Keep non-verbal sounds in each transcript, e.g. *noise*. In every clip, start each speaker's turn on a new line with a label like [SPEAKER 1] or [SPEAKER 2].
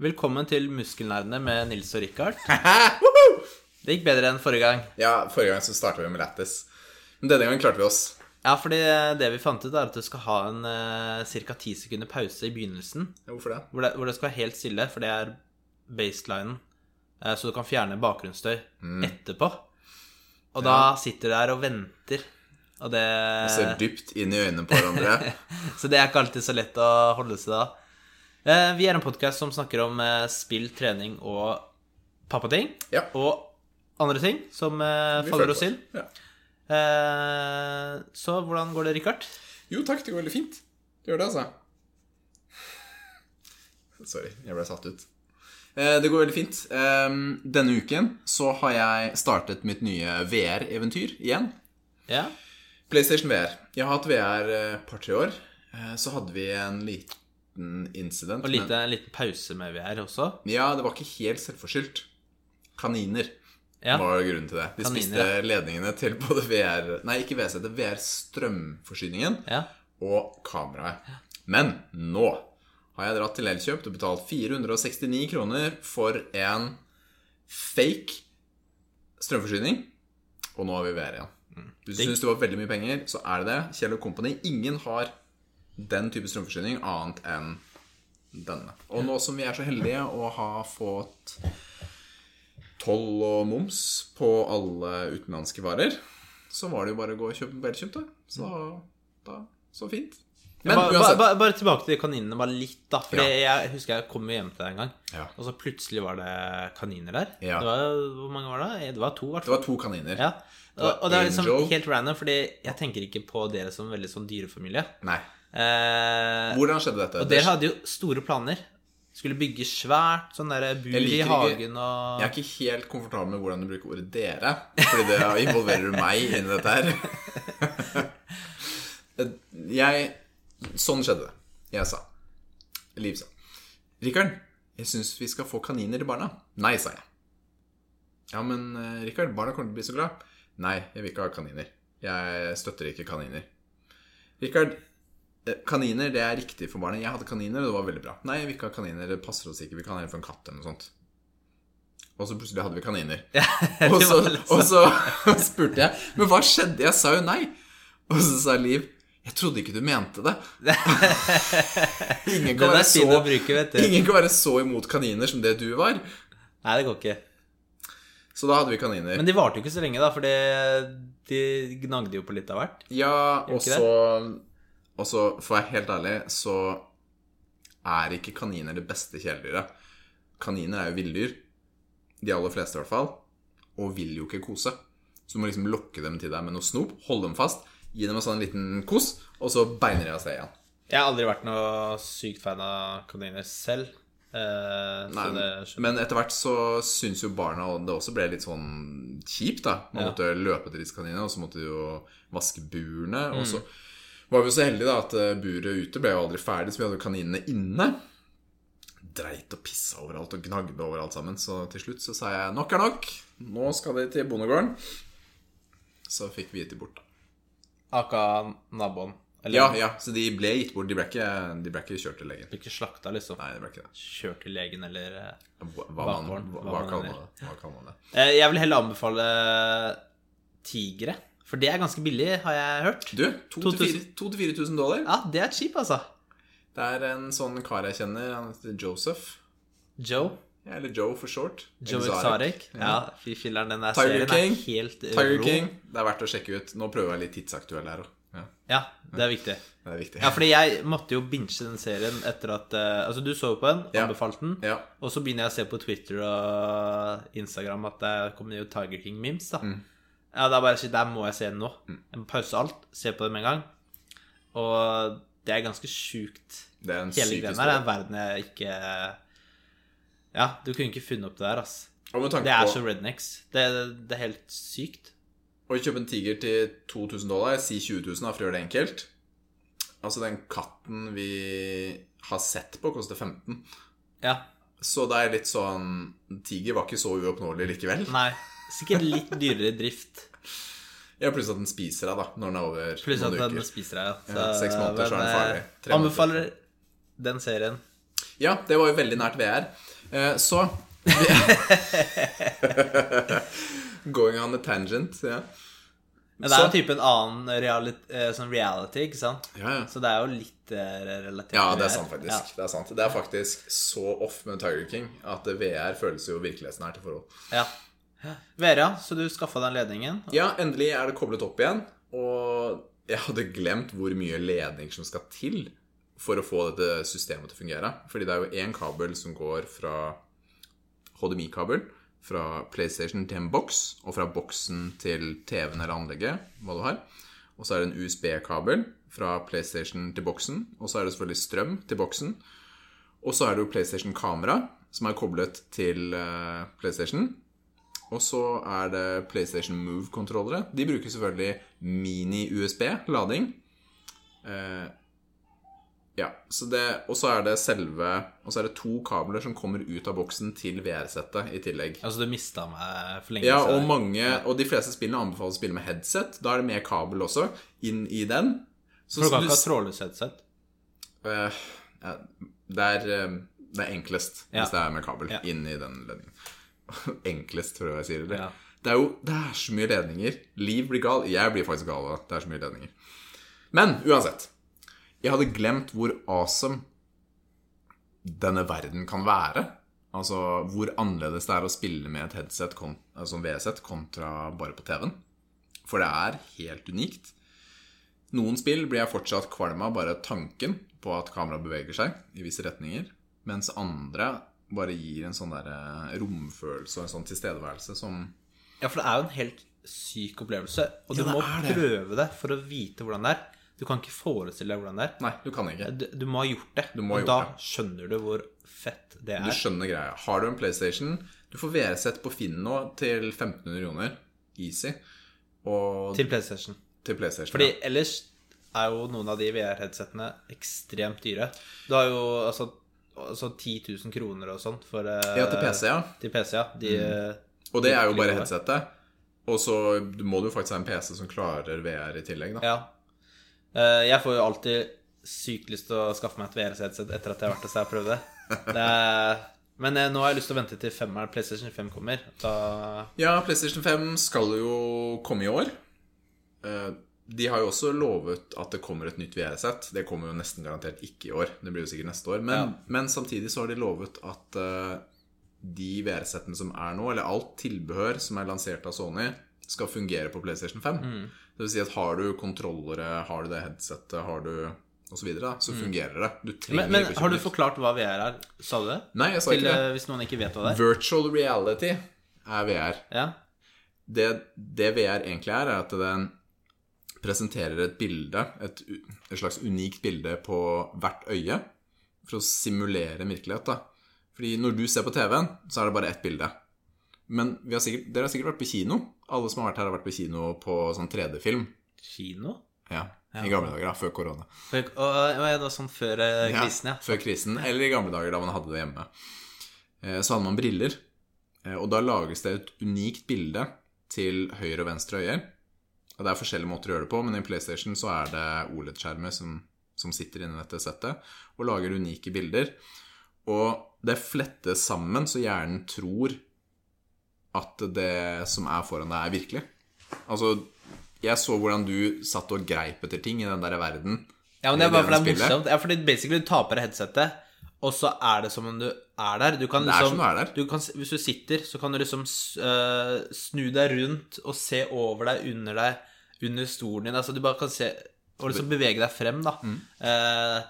[SPEAKER 1] Velkommen til Muskelnerdene med Nils og
[SPEAKER 2] *laughs*
[SPEAKER 1] Richard. Det gikk bedre enn forrige gang.
[SPEAKER 2] Ja, forrige gang så starta vi med lættis. Men denne gangen klarte vi oss.
[SPEAKER 1] Ja, fordi eh, det vi fant ut, er at du skal ha en eh, ca. ti sekunder pause i begynnelsen.
[SPEAKER 2] Ja, Hvorfor det?
[SPEAKER 1] Hvor det, hvor det skal være helt stille, for det er baselinen. Eh, så du kan fjerne bakgrunnsstøy
[SPEAKER 2] Mm.
[SPEAKER 1] etterpå. Og da sitter du der og venter. Og det, Eh.
[SPEAKER 2] Ser dypt inn i øynene på
[SPEAKER 1] *laughs*
[SPEAKER 2] hverandre.
[SPEAKER 1] så det er ikke alltid så lett å holde seg da. Eh, vi er en podkast som snakker om eh, spill, trening og pappating.
[SPEAKER 2] Ja.
[SPEAKER 1] Og andre ting som eh,
[SPEAKER 2] vi følger
[SPEAKER 1] faller oss
[SPEAKER 2] på.
[SPEAKER 1] inn.
[SPEAKER 2] Ja.
[SPEAKER 1] Eh, så hvordan går det, Richard?
[SPEAKER 2] Jo takk, det går veldig fint. Det gjør det, altså. Sorry, jeg ble satt ut. Eh, Det går veldig fint. Ehm, Denne uken så har jeg startet mitt nye VR-eventyr igjen.
[SPEAKER 1] Ja.
[SPEAKER 2] PlayStation VR. Jeg har hatt VR et par-tre år. Eh, Så hadde vi en liten incident.
[SPEAKER 1] Og
[SPEAKER 2] men-
[SPEAKER 1] lite, en liten eh, pause med VR også.
[SPEAKER 2] Ja, det var ikke helt selvforskyldt. Kaniner.
[SPEAKER 1] Ja.
[SPEAKER 2] var grunnen til det. De
[SPEAKER 1] Kaniner,
[SPEAKER 2] spiste ledningene til både VR Nei, ikke VC, det VR-strømforsyningen
[SPEAKER 1] ja.
[SPEAKER 2] og kameraet. Men nå har jeg dratt til Elkjøp og betalt 469 kroner for en fake strømforsyning, og nå har vi VR igjen. Hvis du
[SPEAKER 1] Digg.
[SPEAKER 2] syns det var veldig mye penger, så er det det. Kjell Company. Ingen har den type strømforsyning annet enn denne. Og nå som vi er så heldige å ha fått toll og moms på alle utenlandske varer, så var det jo bare å gå og kjøpe på Elkjøp, da. Så da Så fint. Men
[SPEAKER 1] Ba- ba,
[SPEAKER 2] uansett.
[SPEAKER 1] ba, bare tilbake til kaninene bare litt, da. For
[SPEAKER 2] Ja.
[SPEAKER 1] jeg husker jeg kom hjem til deg en gang,
[SPEAKER 2] Ja.
[SPEAKER 1] og så plutselig var det kaniner der.
[SPEAKER 2] Ja.
[SPEAKER 1] Det var, hvor mange var det? Det var to, i hvert
[SPEAKER 2] Det
[SPEAKER 1] fall.
[SPEAKER 2] var to kaniner.
[SPEAKER 1] Ja. Og,
[SPEAKER 2] var
[SPEAKER 1] og det er liksom
[SPEAKER 2] Angel.
[SPEAKER 1] helt random, Fordi jeg tenker ikke på dere som veldig sånn dyrefamilie.
[SPEAKER 2] Nei.
[SPEAKER 1] Eh,
[SPEAKER 2] Hvordan skjedde dette?
[SPEAKER 1] og dere hadde jo store planer. Skulle bygge svært sånn der bur
[SPEAKER 2] Jeg
[SPEAKER 1] i
[SPEAKER 2] liker ikke-
[SPEAKER 1] hagen og
[SPEAKER 2] Jeg er ikke helt komfortabel med hvordan du bruker ordet 'dere', fordi det involverer jo meg inn i dette her. *laughs* Jeg Sånn skjedde det. Jeg sa. Liv sa. 'Rikard, jeg syns vi skal få kaniner til barna.' Nei, sa jeg. Ja, men eh, Rikard, barna kommer til å bli så glad. Nei, jeg vil ikke ha kaniner. Jeg støtter ikke kaniner. Rikard, eh, kaniner det er riktig for barnet. Jeg hadde kaniner, og det var veldig bra. Nei, jeg vil ikke ha kaniner. Det passer oss ikke. Vi kan heller få en katt eller noe sånt. Og så plutselig hadde vi kaniner. og, så,
[SPEAKER 1] var litt sånn.
[SPEAKER 2] og så *laughs* spurte jeg, men hva skjedde? Jeg sa jo nei. Og så sa Liv, jeg trodde ikke du mente
[SPEAKER 1] *laughs*
[SPEAKER 2] det. ingen,
[SPEAKER 1] Den
[SPEAKER 2] kan være
[SPEAKER 1] er fin å
[SPEAKER 2] så,
[SPEAKER 1] bruke, vet du.
[SPEAKER 2] ingen kan være så imot kaniner som det du var.
[SPEAKER 1] Nei, det går ikke.
[SPEAKER 2] Så da hadde vi kaniner.
[SPEAKER 1] Men de varte jo ikke så lenge, da, for de gnagde jo på litt av hvert.
[SPEAKER 2] Ja,
[SPEAKER 1] Gjør
[SPEAKER 2] og
[SPEAKER 1] ikke det?
[SPEAKER 2] så Og så, for å være helt ærlig, så er ikke kaniner det beste kjæledyret. Kaniner er jo villdyr. De aller fleste, i hvert fall. Og vil jo ikke kose. Så du må liksom lokke dem til deg med noe snop, holde dem fast, gi dem en sånn liten kos, og så beiner de av sted igjen.
[SPEAKER 1] Jeg har aldri vært noe sykt fan av kaniner selv. Eh, så det
[SPEAKER 2] Nei,
[SPEAKER 1] skjønner
[SPEAKER 2] men etter hvert så syns jo barna det også ble litt sånn kjipt, da. Man
[SPEAKER 1] Ja.
[SPEAKER 2] måtte løpe til disse kaninene, og så måtte de jo vaske burene. Og
[SPEAKER 1] Mm.
[SPEAKER 2] så var vi jo så heldige da at eh, buret ute ble jo aldri ferdig, så vi hadde jo kaninene inne. Dreit og pissa overalt og gnagde overalt sammen. Så til slutt så sa jeg nok er nok, nå skal de til bondegården. Så fikk vi gitt de bort, da.
[SPEAKER 1] Aka naboen. Eller
[SPEAKER 2] Ja, ja, så de ble gitt bort. De ble ikke, de ble ikke kjørt til legen.
[SPEAKER 1] ble ikke slakta, liksom.
[SPEAKER 2] Nei, det ble ikke det.
[SPEAKER 1] Kjørt til legen eller eh.
[SPEAKER 2] Hva, hva, man, hva,
[SPEAKER 1] Bakgården, hva
[SPEAKER 2] hva
[SPEAKER 1] man
[SPEAKER 2] kaller
[SPEAKER 1] mener.
[SPEAKER 2] man det? Hva kaller man det?
[SPEAKER 1] Eh, Jeg vil heller anbefale tigre. For det er ganske billig, har jeg hørt.
[SPEAKER 2] Du, 2000-4000 dollar.
[SPEAKER 1] Ja, det er cheap, altså.
[SPEAKER 2] Det er en sånn kar jeg kjenner, han heter Joseph.
[SPEAKER 1] Joe.
[SPEAKER 2] Ja, Eller Joe for short.
[SPEAKER 1] Joe
[SPEAKER 2] Exotic.
[SPEAKER 1] Exotic. Ja, fy filleren, den der
[SPEAKER 2] Tiger
[SPEAKER 1] serien er
[SPEAKER 2] King.
[SPEAKER 1] helt
[SPEAKER 2] Tiger
[SPEAKER 1] rå.
[SPEAKER 2] King. Det er verdt å sjekke ut. Nå prøver jeg litt tidsaktuell her òg. Ja,
[SPEAKER 1] Ja, det er viktig.
[SPEAKER 2] det er viktig.
[SPEAKER 1] Ja, fordi jeg måtte jo binge den serien etter at eh, Altså, du så jo på den,
[SPEAKER 2] Ja.
[SPEAKER 1] anbefalte den.
[SPEAKER 2] *laughs* Ja.
[SPEAKER 1] Og så begynner jeg å se på Twitter og Instagram at det kommer jo Tiger King-memes, da.
[SPEAKER 2] Mm.
[SPEAKER 1] Ja, det er bare shit, der må jeg se den nå. Jeg må pause alt, se på det med en gang. Og det er ganske sjukt.
[SPEAKER 2] Det er en
[SPEAKER 1] Hele
[SPEAKER 2] syk
[SPEAKER 1] greia her er
[SPEAKER 2] historie.
[SPEAKER 1] en verden jeg ikke Ja, du kunne ikke funnet opp det der, ass.
[SPEAKER 2] Og med
[SPEAKER 1] Det
[SPEAKER 2] tanke
[SPEAKER 1] er så
[SPEAKER 2] på
[SPEAKER 1] rednecks. Det, det er helt sykt.
[SPEAKER 2] å kjøpe en tiger til 2000 dollar, si 20 000 da, for å gjøre det enkelt Altså, den katten vi har sett på, koster 15.
[SPEAKER 1] Ja.
[SPEAKER 2] Så det er litt sånn Tiger var ikke så uoppnåelig likevel.
[SPEAKER 1] Nei. Sikkert litt dyrere drift.
[SPEAKER 2] Ja, Pluss at den spiser deg, da, når den er over
[SPEAKER 1] Pluss at
[SPEAKER 2] noen
[SPEAKER 1] den
[SPEAKER 2] uker.
[SPEAKER 1] spiser deg.
[SPEAKER 2] Ja, seks måneder, så er den
[SPEAKER 1] men, eh,
[SPEAKER 2] farlig. Tre måneder.
[SPEAKER 1] Anbefaler den serien.
[SPEAKER 2] Ja, det var jo veldig nært VR. Eh, *laughs* Så Going on a tangent. Ja,
[SPEAKER 1] Men det er jo
[SPEAKER 2] Så-
[SPEAKER 1] type en annen reality, eh, sånn reality, ikke sant?
[SPEAKER 2] ja. ja.
[SPEAKER 1] Så det er jo litt eh, relatert
[SPEAKER 2] ja
[SPEAKER 1] til
[SPEAKER 2] det er
[SPEAKER 1] VR.
[SPEAKER 2] sant, faktisk. Det er sant Det er faktisk så off med Tiger King at VR føles jo virkelighetsnært i forhold.
[SPEAKER 1] Ja. ja. Vera, så du skaffa den ledningen?
[SPEAKER 2] Ja, endelig er det koblet opp igjen. Og jeg hadde glemt hvor mye ledning som skal til for å få dette systemet til å fungere. Fordi det er jo én kabel som går fra HDMI-kabel, fra PlayStation til en boks, og fra boksen til TV-en eller anlegget, hva du har. Og så er det en USB-kabel fra PlayStation til boksen, og så er det selvfølgelig strøm til boksen. Og så er det jo PlayStation-kamera, som er koblet til eh, PlayStation. Og så er det PlayStation Move-kontrollere. De bruker selvfølgelig mini-USB-lading. Eh, ja, så det, Og så er det selve Og så er det to kabler som kommer ut av boksen til VR-settet i tillegg.
[SPEAKER 1] Altså, du mista meg for lenge
[SPEAKER 2] Ja, og
[SPEAKER 1] siden.
[SPEAKER 2] mange, og de fleste spillene anbefales å spille med headset. Da er det med kabel også, inn i den. Så,
[SPEAKER 1] For du
[SPEAKER 2] så
[SPEAKER 1] kan
[SPEAKER 2] du,
[SPEAKER 1] ikke ha trådløs headset?
[SPEAKER 2] eh, ja, det, er, eh, det er enklest
[SPEAKER 1] Ja.
[SPEAKER 2] hvis det er med kabel
[SPEAKER 1] Ja.
[SPEAKER 2] inn i den ledningen. *laughs* enklest, tror jeg jeg sier det.
[SPEAKER 1] Ja.
[SPEAKER 2] Det er jo det er så mye ledninger. Liv blir gal. Jeg blir faktisk gal av det. Det er så mye ledninger. Men uansett. Jeg hadde glemt hvor awesome denne verden kan være. Altså hvor annerledes det er å spille med et headset kon altså en VS-et kontra bare på TV-en. For det er helt unikt. Noen spill blir jeg fortsatt kvalm av bare tanken på at kameraet beveger seg i visse retninger, mens andre bare gir en sånn der eh, romfølelse og en sånn tilstedeværelse som
[SPEAKER 1] Ja, for det er jo en helt syk opplevelse. Og du
[SPEAKER 2] Ja, det
[SPEAKER 1] må
[SPEAKER 2] er det.
[SPEAKER 1] prøve det for å vite hvordan det er. Du kan ikke forestille deg hvordan det er.
[SPEAKER 2] Nei, du kan ikke.
[SPEAKER 1] Du, du må ha gjort det.
[SPEAKER 2] må ha gjort
[SPEAKER 1] og da
[SPEAKER 2] det.
[SPEAKER 1] skjønner du hvor fett det
[SPEAKER 2] Du
[SPEAKER 1] er.
[SPEAKER 2] skjønner greia. Har du en PlayStation Du får VR-sett på Finn nå til 1500 kroner. Easy. Og til,
[SPEAKER 1] Til PlayStation.
[SPEAKER 2] PlayStation.
[SPEAKER 1] Fordi
[SPEAKER 2] ja.
[SPEAKER 1] ellers er jo noen av de VR-headsetene ekstremt dyre. Du har jo altså, altså 10 000 kroner og sånn for eh,
[SPEAKER 2] ja, til PC, ja. Mm.
[SPEAKER 1] Til PC, ja. De,
[SPEAKER 2] Og det er jo bare
[SPEAKER 1] virkelig
[SPEAKER 2] headsetet. Og så må du faktisk ha en PC som klarer VR i tillegg, da.
[SPEAKER 1] ja. Eh, Jeg får jo alltid sykt lyst til å skaffe meg et VR-headset etter at jeg har vært hos deg og
[SPEAKER 2] *laughs*
[SPEAKER 1] prøvd det. det er, men eh, nå har jeg lyst til å vente til femmeren, PlayStation 5 kommer. Da
[SPEAKER 2] Ja, PlayStation 5 skal jo komme i år. Eh, De har jo også lovet at det kommer et nytt VR-sett. Det kommer jo nesten garantert ikke i år. Det blir jo sikkert neste år. Men,
[SPEAKER 1] Ja.
[SPEAKER 2] men samtidig så har de lovet at eh, de VR-settene som er nå, eller alt tilbehør som er lansert av Sony, skal fungere på PlayStation 5.
[SPEAKER 1] Mm.
[SPEAKER 2] Det vil si at har du kontrollere, har du det headsetet, har du og så, videre, da, så fungerer det. Du trenger
[SPEAKER 1] Mm. men, men
[SPEAKER 2] ikke å kjøpe
[SPEAKER 1] har du
[SPEAKER 2] nytt.
[SPEAKER 1] forklart hva VR er? Sa du det?
[SPEAKER 2] Nei, jeg sa
[SPEAKER 1] Til,
[SPEAKER 2] ikke det.
[SPEAKER 1] eh, hvis noen ikke vet hva det er?
[SPEAKER 2] Virtual reality er VR
[SPEAKER 1] Ja.
[SPEAKER 2] det, det VR egentlig er, er at den presenterer et bilde, et, u- et slags unikt bilde på hvert øye, for å simulere en virkelighet. da. Fordi når du ser på TV-en, så er det bare ett bilde. Men vi har sikkert, dere har sikkert vært på kino. Alle som har vært her, har vært på kino på sånn 3D-film.
[SPEAKER 1] Kino?
[SPEAKER 2] Ja,
[SPEAKER 1] Ja.
[SPEAKER 2] I gamle dager, da, før korona.
[SPEAKER 1] Og, og, og, det var sånn før eh,
[SPEAKER 2] Ja,
[SPEAKER 1] krisen, ja.
[SPEAKER 2] Før krisen, eller i gamle dager da man hadde det hjemme. Eh, Så hadde man briller, eh, og da lages det et unikt bilde til høyre og venstre øyer. Og det er forskjellige måter å gjøre det på, men i PlayStation så er det OLED-skjermer som, som sitter inni dette settet og lager unike bilder. Og det flettes sammen, så hjernen tror at det som er foran deg, er virkelig. Altså, jeg så hvordan du satt og greip etter ting i den der verden.
[SPEAKER 1] Ja, men det er
[SPEAKER 2] i
[SPEAKER 1] bare fordi det er
[SPEAKER 2] spillet.
[SPEAKER 1] morsomt. Ja, fordi basically du taper headsetet, og så er det som om du er der. Du kan
[SPEAKER 2] Det er
[SPEAKER 1] liksom
[SPEAKER 2] som du er der.
[SPEAKER 1] du kan, Hvis du sitter, så kan du liksom s- øh, snu deg rundt og se over deg, under deg, under stolen din. Altså du bare kan se Og liksom bevege deg frem, da.
[SPEAKER 2] Mm.
[SPEAKER 1] Eh,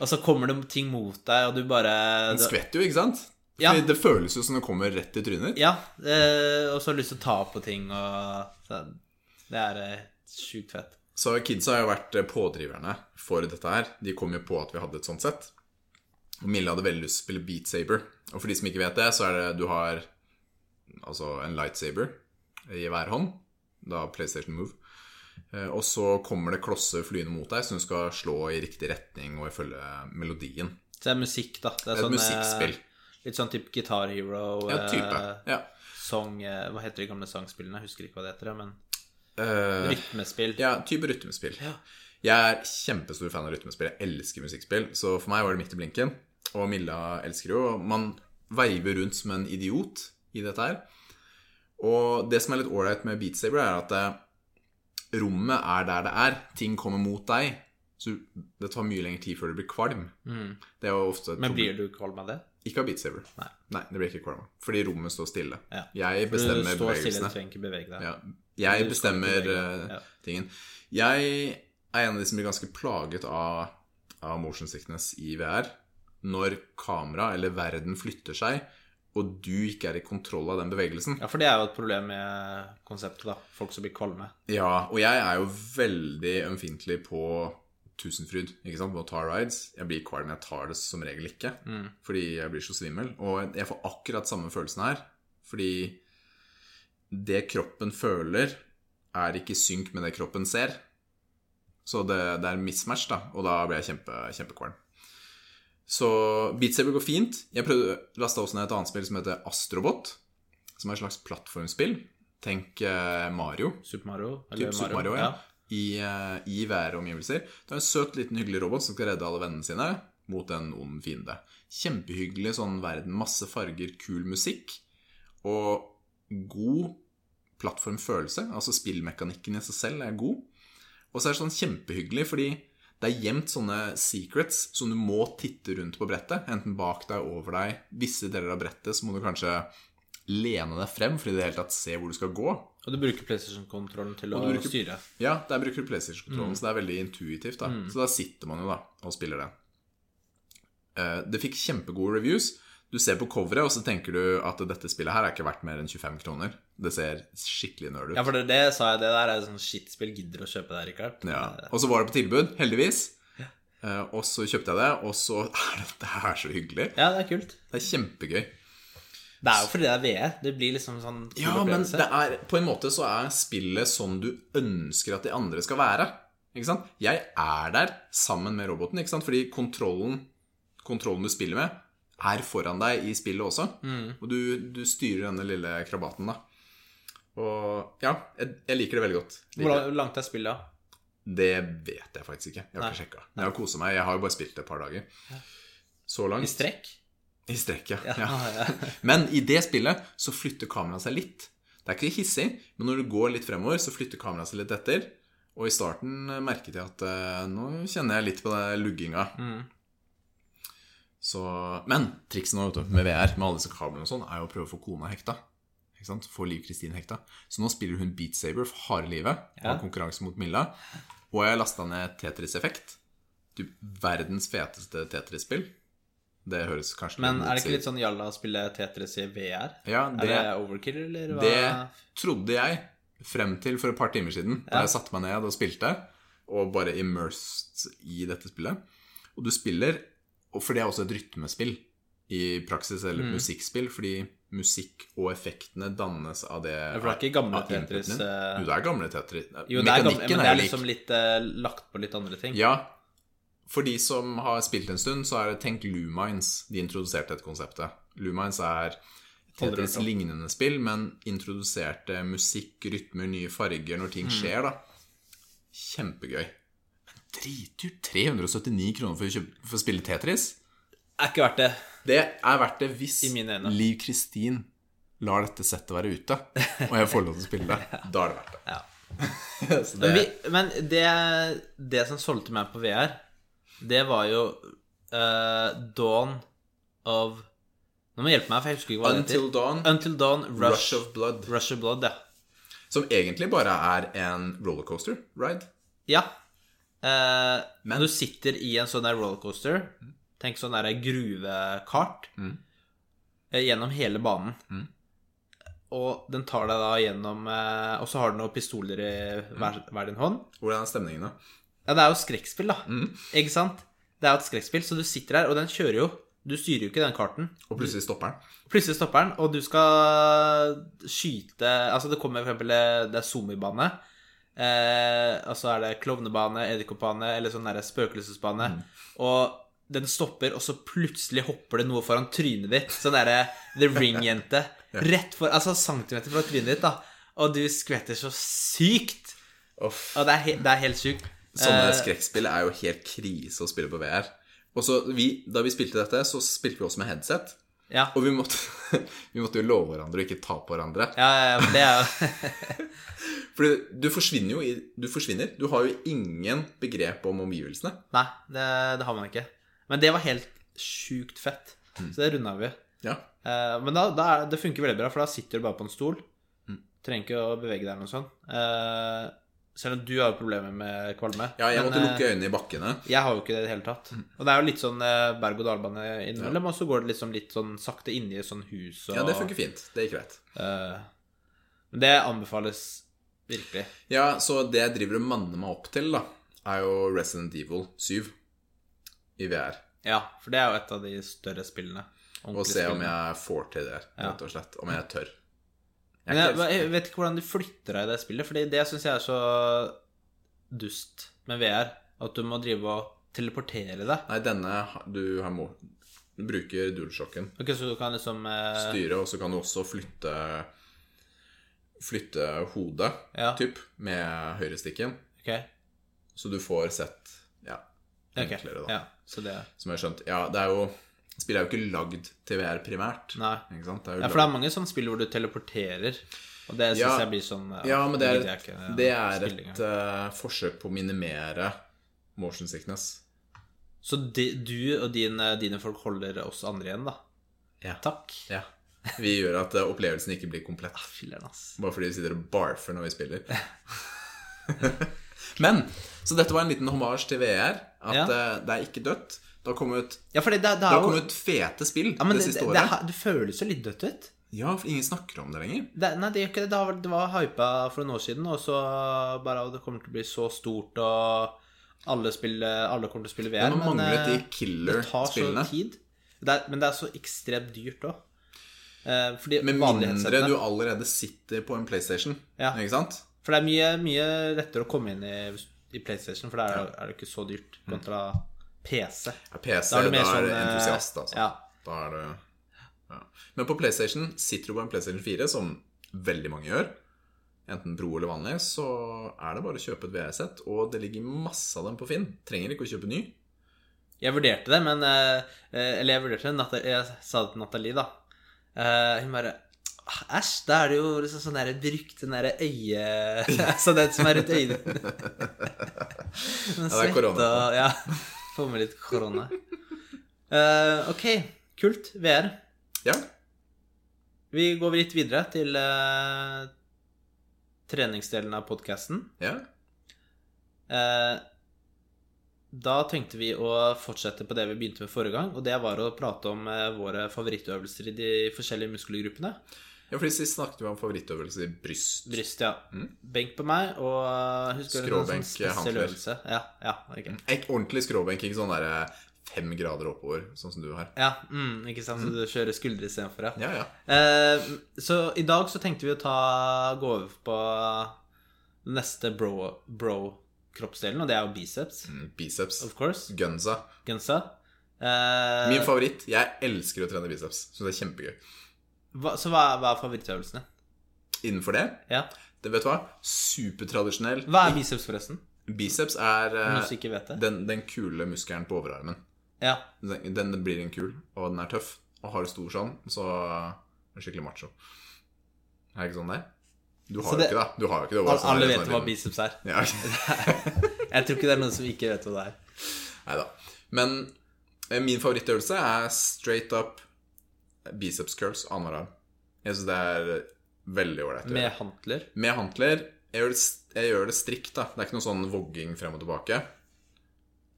[SPEAKER 1] og så kommer det ting mot deg, og du bare
[SPEAKER 2] Den skvetter jo, ikke sant?
[SPEAKER 1] Ja.
[SPEAKER 2] Fordi Det føles jo som det kommer rett i trynet.
[SPEAKER 1] Ja. eh, og så har du lyst til å ta på ting og så, Det er eh, sjukt fett.
[SPEAKER 2] Så kidsa har jo vært eh, pådriverne for dette her. De kom jo på at vi hadde et sånt sett. Og Mille hadde veldig lyst til å spille Beat Saber. Og for de som ikke vet det, så er det du har altså en lightsaber i hver hånd. Da PlayStation Move. Eh, Og så kommer det klosser flyende mot deg, så du skal slå i riktig retning og ifølge melodien.
[SPEAKER 1] Så det er musikk, da. Det er,
[SPEAKER 2] Et
[SPEAKER 1] sånn, eh,
[SPEAKER 2] musikkspill.
[SPEAKER 1] Litt sånn type Guitar Hero.
[SPEAKER 2] Ja, type.
[SPEAKER 1] eh,
[SPEAKER 2] Ja.
[SPEAKER 1] Song, eh, hva heter de gamle sangspillene? Jeg husker ikke hva det heter, ja, men
[SPEAKER 2] Eh,
[SPEAKER 1] rytmespill.
[SPEAKER 2] Ja, type rytmespill.
[SPEAKER 1] Ja.
[SPEAKER 2] Jeg er kjempestor fan av rytmespill. Jeg elsker musikkspill, så for meg var det midt i blinken. Og Milla elsker jo og Man veiver rundt som en idiot i dette her. Og det som er litt ålreit med Beat Saber, er at eh, rommet er der det er. Ting kommer mot deg. Så det tar mye lengre tid før du blir kvalm. Det er jo ofte et
[SPEAKER 1] Mm. Men
[SPEAKER 2] problem.
[SPEAKER 1] blir du kvalm av det?
[SPEAKER 2] Ikke av Beat Saber.
[SPEAKER 1] Nei.
[SPEAKER 2] det blir ikke kvalm. Fordi rommet står stille.
[SPEAKER 1] Ja.
[SPEAKER 2] Jeg
[SPEAKER 1] Du står
[SPEAKER 2] bestemmer
[SPEAKER 1] stille, du
[SPEAKER 2] bevegelsene.
[SPEAKER 1] trenger ikke bevege deg.
[SPEAKER 2] Ja. Jeg
[SPEAKER 1] Du skal
[SPEAKER 2] bestemmer
[SPEAKER 1] ikke bevege deg.
[SPEAKER 2] eh,
[SPEAKER 1] Ja.
[SPEAKER 2] tingen. Jeg er en av de som blir ganske plaget av, av motion sickness i VR. Når kamera eller verden flytter seg, og du ikke er i kontroll av den bevegelsen.
[SPEAKER 1] Ja, for det er jo et problem med konseptet, da. Folk som blir kvalme.
[SPEAKER 2] Ja, og jeg er jo veldig ømfintlig på Tusenfryd, ikke sant, på å ta rides. Jeg blir kvalm, jeg tar det som regel ikke.
[SPEAKER 1] Mm.
[SPEAKER 2] Fordi jeg blir så svimmel. Og jeg får akkurat samme følelsen her. Fordi det kroppen føler, er ikke i synk med det kroppen ser. Så det, det er en mismatch, da. Og da blir jeg kjempe, kjempekvalm. Så Beat Saber går fint. Jeg prøvde lasta også ned et annet spill som heter Astrobot. Som er et slags plattformspill. Tenk eh, Mario.
[SPEAKER 1] Super Mario.
[SPEAKER 2] Typ Super Mario, ja. I, eh, I været omgivelser. Det er en søt, liten, hyggelig robot som skal redde alle vennene sine mot en ond fiende. Kjempehyggelig sånn verden. Masse farger, kul musikk og god plattformfølelse. Altså spillmekanikken i seg selv er god. Og så er det sånn kjempehyggelig, fordi det er gjemt sånne secrets som du må titte rundt på brettet. Enten bak deg, over deg. Visse deler av brettet så må du kanskje lene deg frem for i det hele tatt se hvor du skal gå.
[SPEAKER 1] Og du bruker PlayStation-kontrollen til å
[SPEAKER 2] du bruker-
[SPEAKER 1] styre.
[SPEAKER 2] Ja, der bruker du PlayStation-kontrollen,
[SPEAKER 1] Mm.
[SPEAKER 2] så det er veldig intuitivt. da Så da sitter man jo da og spiller det. Eh, Det fikk kjempegode reviews. Du ser på coveret, og så tenker du at dette spillet her er ikke verdt mer enn 25 kroner. Det ser skikkelig nerd ut.
[SPEAKER 1] Ja, for det, det sa jeg, det der er sånn shitspill. Gidder å kjøpe det, Rikard?
[SPEAKER 2] Ja. Og så var det på tilbud, heldigvis. Eh, Og så kjøpte jeg det, og så *laughs* er dette her så hyggelig.
[SPEAKER 1] Ja, det er kult.
[SPEAKER 2] Det er kjempegøy.
[SPEAKER 1] Det er jo fordi det er VR. Det blir liksom sånn kul
[SPEAKER 2] Ja, men
[SPEAKER 1] opplevelse.
[SPEAKER 2] det er, på en måte så er spillet sånn du ønsker at de andre skal være. Ikke sant? Jeg er der sammen med roboten, ikke sant? fordi kontrollen, kontrollen du spiller med, er foran deg i spillet også.
[SPEAKER 1] Mm.
[SPEAKER 2] Og du, du styrer denne lille krabaten, da. Og ja, jeg, jeg liker det veldig godt.
[SPEAKER 1] Hvor
[SPEAKER 2] Liker det.
[SPEAKER 1] lang- hvor langt er spillet, da?
[SPEAKER 2] Det vet jeg faktisk ikke. Jeg har ikke sjekka. Jeg har kosa meg. Jeg har jo bare spilt det et par dager. Så langt.
[SPEAKER 1] I strekk?
[SPEAKER 2] I strekk, ja.
[SPEAKER 1] Ja,
[SPEAKER 2] ja.
[SPEAKER 1] ja. *laughs*
[SPEAKER 2] Men i det spillet så flytter kameraet seg litt. Det er ikke hissig, men når du går litt fremover, så flytter kameraet seg litt etter. Og i starten eh, merket jeg at eh, nå kjenner jeg litt på den lugginga.
[SPEAKER 1] Mm.
[SPEAKER 2] Så, men trikset nå vet du, med VR med alle disse kablene og sånn, er jo å prøve å få kona hekta. Ikke sant? Få Liv Kristin hekta. Så nå spiller hun Beat Saber for harde livet. og Har
[SPEAKER 1] Ja.
[SPEAKER 2] konkurranse mot Milla. Og jeg har lasta ned Tetris Effekt. Du, verdens feteste Tetris-spill. Det høres kanskje
[SPEAKER 1] Men er det
[SPEAKER 2] motsigende-
[SPEAKER 1] ikke litt sånn jalla å spille Tetris i VR?
[SPEAKER 2] ja, det,
[SPEAKER 1] er det overkill, eller hva?
[SPEAKER 2] Det trodde jeg frem til for et par timer siden, da
[SPEAKER 1] Ja.
[SPEAKER 2] jeg satte meg ned og spilte, og bare immersed i dette spillet. Og du spiller, og for det er også et rytmespill i praksis, eller
[SPEAKER 1] Mm.
[SPEAKER 2] et musikkspill, fordi musikk og effektene dannes av det
[SPEAKER 1] for det er ikke gamle
[SPEAKER 2] av inputen
[SPEAKER 1] Tetris,
[SPEAKER 2] din.
[SPEAKER 1] eh,
[SPEAKER 2] Jo, det er gamle Tetris.
[SPEAKER 1] Jo, det er, gamle,
[SPEAKER 2] Mekanikken
[SPEAKER 1] men det er
[SPEAKER 2] lik.
[SPEAKER 1] liksom litt eh, lagt på litt andre ting.
[SPEAKER 2] Ja. For de som har spilt en stund, så er det Tenk Lumines. De introduserte dette konseptet. Lumines er
[SPEAKER 1] Aldri hørt
[SPEAKER 2] Tetris
[SPEAKER 1] om.
[SPEAKER 2] lignende spill, men introduserte musikk, rytmer, nye farger når
[SPEAKER 1] Mm.
[SPEAKER 2] ting skjer, da. Kjempegøy. Men dritdyrt. 379 kroner for å, kjøpe, for å spille Tetris?
[SPEAKER 1] Er ikke verdt det.
[SPEAKER 2] Det er verdt det hvis
[SPEAKER 1] I mine øyne.
[SPEAKER 2] Liv Kristin lar dette settet være ute, og jeg får lov til å spille det. Da er det verdt det.
[SPEAKER 1] *laughs* Ja.
[SPEAKER 2] *laughs* Så
[SPEAKER 1] Men,
[SPEAKER 2] det
[SPEAKER 1] vi, men det, det som solgte meg på VR, det var jo eh, Dawn of Nå må du hjelpe meg, for jeg husker ikke hva det heter.
[SPEAKER 2] Until Dawn,
[SPEAKER 1] Until Dawn, Rush,
[SPEAKER 2] Rush of Blood.
[SPEAKER 1] Rush of Blood, ja.
[SPEAKER 2] Som egentlig bare er en rollercoaster ride.
[SPEAKER 1] Ja. Eh,
[SPEAKER 2] Men-
[SPEAKER 1] du sitter i en sånn der rollercoaster, tenk sånn der gruvekart, eh, gjennom hele banen. Og den tar deg da gjennom eh, Og så har du noen pistoler i hver, hver din hånd.
[SPEAKER 2] Hvordan er stemningen, da?
[SPEAKER 1] Ja, det er jo skrekkspill, da. Ikke sant? Det er jo et skrekkspill, så du sitter her, og den kjører jo. Du styrer jo ikke den karten.
[SPEAKER 2] Og plutselig stopper den.
[SPEAKER 1] Plutselig stopper den, og du skal skyte Altså, det kommer for eksempel eh, Det er zombiebane. Eh, og så er det klovnebane, edderkoppbane eller sånn der spøkelsesbane. Og den stopper, og så plutselig hopper det noe foran trynet ditt. Sånn derre The Ring-jente. Rett for Altså centimeter fra trynet ditt, da. Og du skvetter så sykt. Og det er, he det er helt sykt.
[SPEAKER 2] Sånne
[SPEAKER 1] Eh,
[SPEAKER 2] skrekkspill er jo helt krise å spille på VR. Og så vi, Da vi spilte dette, så spilte vi også med headset.
[SPEAKER 1] Ja.
[SPEAKER 2] Og vi måtte, *laughs* vi måtte jo love hverandre å ikke ta på hverandre.
[SPEAKER 1] Ja, ja, ja, det er jo *laughs*
[SPEAKER 2] For du forsvinner jo i Du forsvinner. Du har jo ingen begrep om omgivelsene.
[SPEAKER 1] Nei, det, det har man ikke. Men det var helt sjukt fett. Så det runda vi.
[SPEAKER 2] Ja.
[SPEAKER 1] Eh, men da, da er, det funker veldig bra, for da sitter du bare på en stol.
[SPEAKER 2] Mm.
[SPEAKER 1] Trenger ikke å bevege deg eller noe sånt. Eh, selv om du har jo problemer med kvalme.
[SPEAKER 2] ja jeg
[SPEAKER 1] Men,
[SPEAKER 2] måtte
[SPEAKER 1] eh,
[SPEAKER 2] lukke Mm. øynene i bakkene.
[SPEAKER 1] Jeg har jo ikke det i det hele tatt. Og det er jo litt sånn eh, berg-og-dal-bane innimellom, og så går det liksom litt sånn sakte inni et sånn hus og
[SPEAKER 2] Ja, det funker fint. Det gikk greit.
[SPEAKER 1] eh, Men det anbefales virkelig.
[SPEAKER 2] Ja, så det jeg driver og manner meg opp til, da, er jo Resident Evil 7 i VR.
[SPEAKER 1] Ja, for det er jo et av de større spillene.
[SPEAKER 2] Og
[SPEAKER 1] Ordentlige
[SPEAKER 2] se om
[SPEAKER 1] spillene.
[SPEAKER 2] jeg får til det, rett og slett. Om jeg tør. Jeg
[SPEAKER 1] Men
[SPEAKER 2] er
[SPEAKER 1] jeg,
[SPEAKER 2] ikke-
[SPEAKER 1] jeg vet ikke hvordan de flytter deg i det spillet, Fordi det syns jeg er så dust med VR. At du må drive og teleportere deg.
[SPEAKER 2] Nei, denne har- du har må Du bruker dualshocken.
[SPEAKER 1] Ok, Så du kan liksom eh,
[SPEAKER 2] Styre, og så kan du også flytte Flytte hodet,
[SPEAKER 1] Ja.
[SPEAKER 2] typ, med høyrestikken.
[SPEAKER 1] Ok.
[SPEAKER 2] Så du får sett Ja,
[SPEAKER 1] ok.
[SPEAKER 2] enklere, da.
[SPEAKER 1] Ja, så det
[SPEAKER 2] Som jeg har skjønt. Ja, det er jo Spillet er jo ikke lagd til VR primært.
[SPEAKER 1] Nei.
[SPEAKER 2] Ikke sant? Det er jo
[SPEAKER 1] Ja, for det er mange sånne spill hvor du teleporterer, og det syns
[SPEAKER 2] Ja.
[SPEAKER 1] jeg blir sånn eh,
[SPEAKER 2] Ja, men det
[SPEAKER 1] gidder
[SPEAKER 2] er,
[SPEAKER 1] jeg ikke, eh,
[SPEAKER 2] det er
[SPEAKER 1] spille
[SPEAKER 2] et
[SPEAKER 1] engang.
[SPEAKER 2] eh, forsøk på å minimere motion sickness.
[SPEAKER 1] Så de, du og din, eh, dine folk holder oss andre igjen, da?
[SPEAKER 2] Ja.
[SPEAKER 1] Takk.
[SPEAKER 2] Ja. Vi gjør at eh, opplevelsen ikke blir komplett.
[SPEAKER 1] Filler'n, ass.
[SPEAKER 2] Bare fordi vi sitter og barfer når vi spiller.
[SPEAKER 1] *laughs*
[SPEAKER 2] Men Så dette var en liten hommage til VR. At
[SPEAKER 1] Ja.
[SPEAKER 2] eh, det er ikke dødt. Det har kommet,
[SPEAKER 1] Ja, for det, det, det
[SPEAKER 2] det
[SPEAKER 1] er
[SPEAKER 2] har
[SPEAKER 1] jo
[SPEAKER 2] kommet fete spill
[SPEAKER 1] ja, men det,
[SPEAKER 2] det siste
[SPEAKER 1] det, det,
[SPEAKER 2] året.
[SPEAKER 1] har- det føles jo litt dødt ut.
[SPEAKER 2] Ja, for ingen snakker om det lenger.
[SPEAKER 1] Det, nei, det gjør ikke det. Det, har, vært- det var hypa for noen år siden, og så bare Det kommer til å bli så stort, og alle, spiller, alle kommer til å spille VR.
[SPEAKER 2] Man manglet de
[SPEAKER 1] eh, det tar så
[SPEAKER 2] killer-spillene.
[SPEAKER 1] tid. Det er, men det er så ekstremt dyrt òg. Eh, fordi
[SPEAKER 2] Med
[SPEAKER 1] vanlige
[SPEAKER 2] mindre
[SPEAKER 1] headsetene-
[SPEAKER 2] du allerede sitter på en PlayStation.
[SPEAKER 1] Ja.
[SPEAKER 2] Ikke sant?
[SPEAKER 1] For det er mye, mye lettere å komme inn i, i PlayStation, for der er, er det ikke så dyrt, kontra PC.
[SPEAKER 2] Ja, PC,
[SPEAKER 1] Da er
[SPEAKER 2] da
[SPEAKER 1] det
[SPEAKER 2] er Mm. du
[SPEAKER 1] mer sånn, eh,
[SPEAKER 2] entusiast, altså.
[SPEAKER 1] Ja.
[SPEAKER 2] Da er det ja. Men på PlayStation, sitter du på en PlayStation 4, som veldig mange gjør, enten Pro eller vanlig, så er det bare å kjøpe et VR-sett, og det ligger masse av dem på Finn. Trenger ikke å kjøpe ny.
[SPEAKER 1] Jeg vurderte det, men eh, eh, Eller jeg vurderte det, Nata- jeg sa det til Nathalie, da. Eh, hun bare «Ah, Æsj, da er det jo liksom sånn der brukt den derre øye... *laughs* altså den som er rundt
[SPEAKER 2] *laughs*
[SPEAKER 1] øynene. Den
[SPEAKER 2] Ja, det er korona.
[SPEAKER 1] svette og- Ja. Få med litt korona. Eh, ok, kult. VR.
[SPEAKER 2] Ja.
[SPEAKER 1] Vi går litt videre til eh, treningsdelen av podkasten.
[SPEAKER 2] ja.
[SPEAKER 1] Eh, da tenkte vi å fortsette på det vi begynte med forrige gang, og det var å prate om eh, våre favorittøvelser i de forskjellige muskelgruppene.
[SPEAKER 2] Ja, fordi Sist snakket vi om favorittøvelse i bryst.
[SPEAKER 1] Bryst, ja.
[SPEAKER 2] Mm.
[SPEAKER 1] Benk på meg, og eh, husker du en
[SPEAKER 2] Skråbenk, Mm.
[SPEAKER 1] sånn spesiell
[SPEAKER 2] håndflør.
[SPEAKER 1] øvelse? Ja, ja, ok.
[SPEAKER 2] Ek, ordentlig skråbenk, ikke sånn der eh, fem grader oppover, sånn som du har.
[SPEAKER 1] Ja, mm, ikke sant, så du kjører skuldre istedenfor, ja.
[SPEAKER 2] Ja, ja.
[SPEAKER 1] Eh, så i dag så tenkte vi å ta, gå over på neste bro- bro-kroppsdelen, og det er jo biceps,
[SPEAKER 2] Mm, Biceps.
[SPEAKER 1] of course.
[SPEAKER 2] Gunsa.
[SPEAKER 1] Gunsa. Eh,
[SPEAKER 2] Min favoritt. Jeg elsker å trene biceps. Syns det er kjempegøy.
[SPEAKER 1] hva, så hva, er- hva er favorittøvelsene?
[SPEAKER 2] Innenfor det
[SPEAKER 1] Ja.
[SPEAKER 2] Det vet du hva? Supertradisjonell.
[SPEAKER 1] Hva er biceps, forresten?
[SPEAKER 2] Biceps er eh,
[SPEAKER 1] Hvis du ikke vet det.
[SPEAKER 2] den, den kule muskelen på overarmen.
[SPEAKER 1] Ja,
[SPEAKER 2] Den, den blir en kul, og den er tøff. Og har du stor sånn, så er du skikkelig macho. Er det ikke sånn der? Du
[SPEAKER 1] Så
[SPEAKER 2] har
[SPEAKER 1] det-
[SPEAKER 2] jo ikke det. Du har jo ikke det.
[SPEAKER 1] alle,
[SPEAKER 2] Sånn er det,
[SPEAKER 1] vet
[SPEAKER 2] sånn er
[SPEAKER 1] hva
[SPEAKER 2] det.
[SPEAKER 1] biceps er.
[SPEAKER 2] *laughs* Ja.
[SPEAKER 1] Jeg tror ikke det er noen som ikke vet hva det er.
[SPEAKER 2] Neida. Men eh, min favorittøvelse er straight up biceps curls annenhver arm. Jeg syns det er veldig ålreit. å gjøre.
[SPEAKER 1] Med hantler.
[SPEAKER 2] Med hantler. Jeg gjør, det, st- jeg gjør det strikt, da. Det er ikke noe sånn vogging frem og tilbake.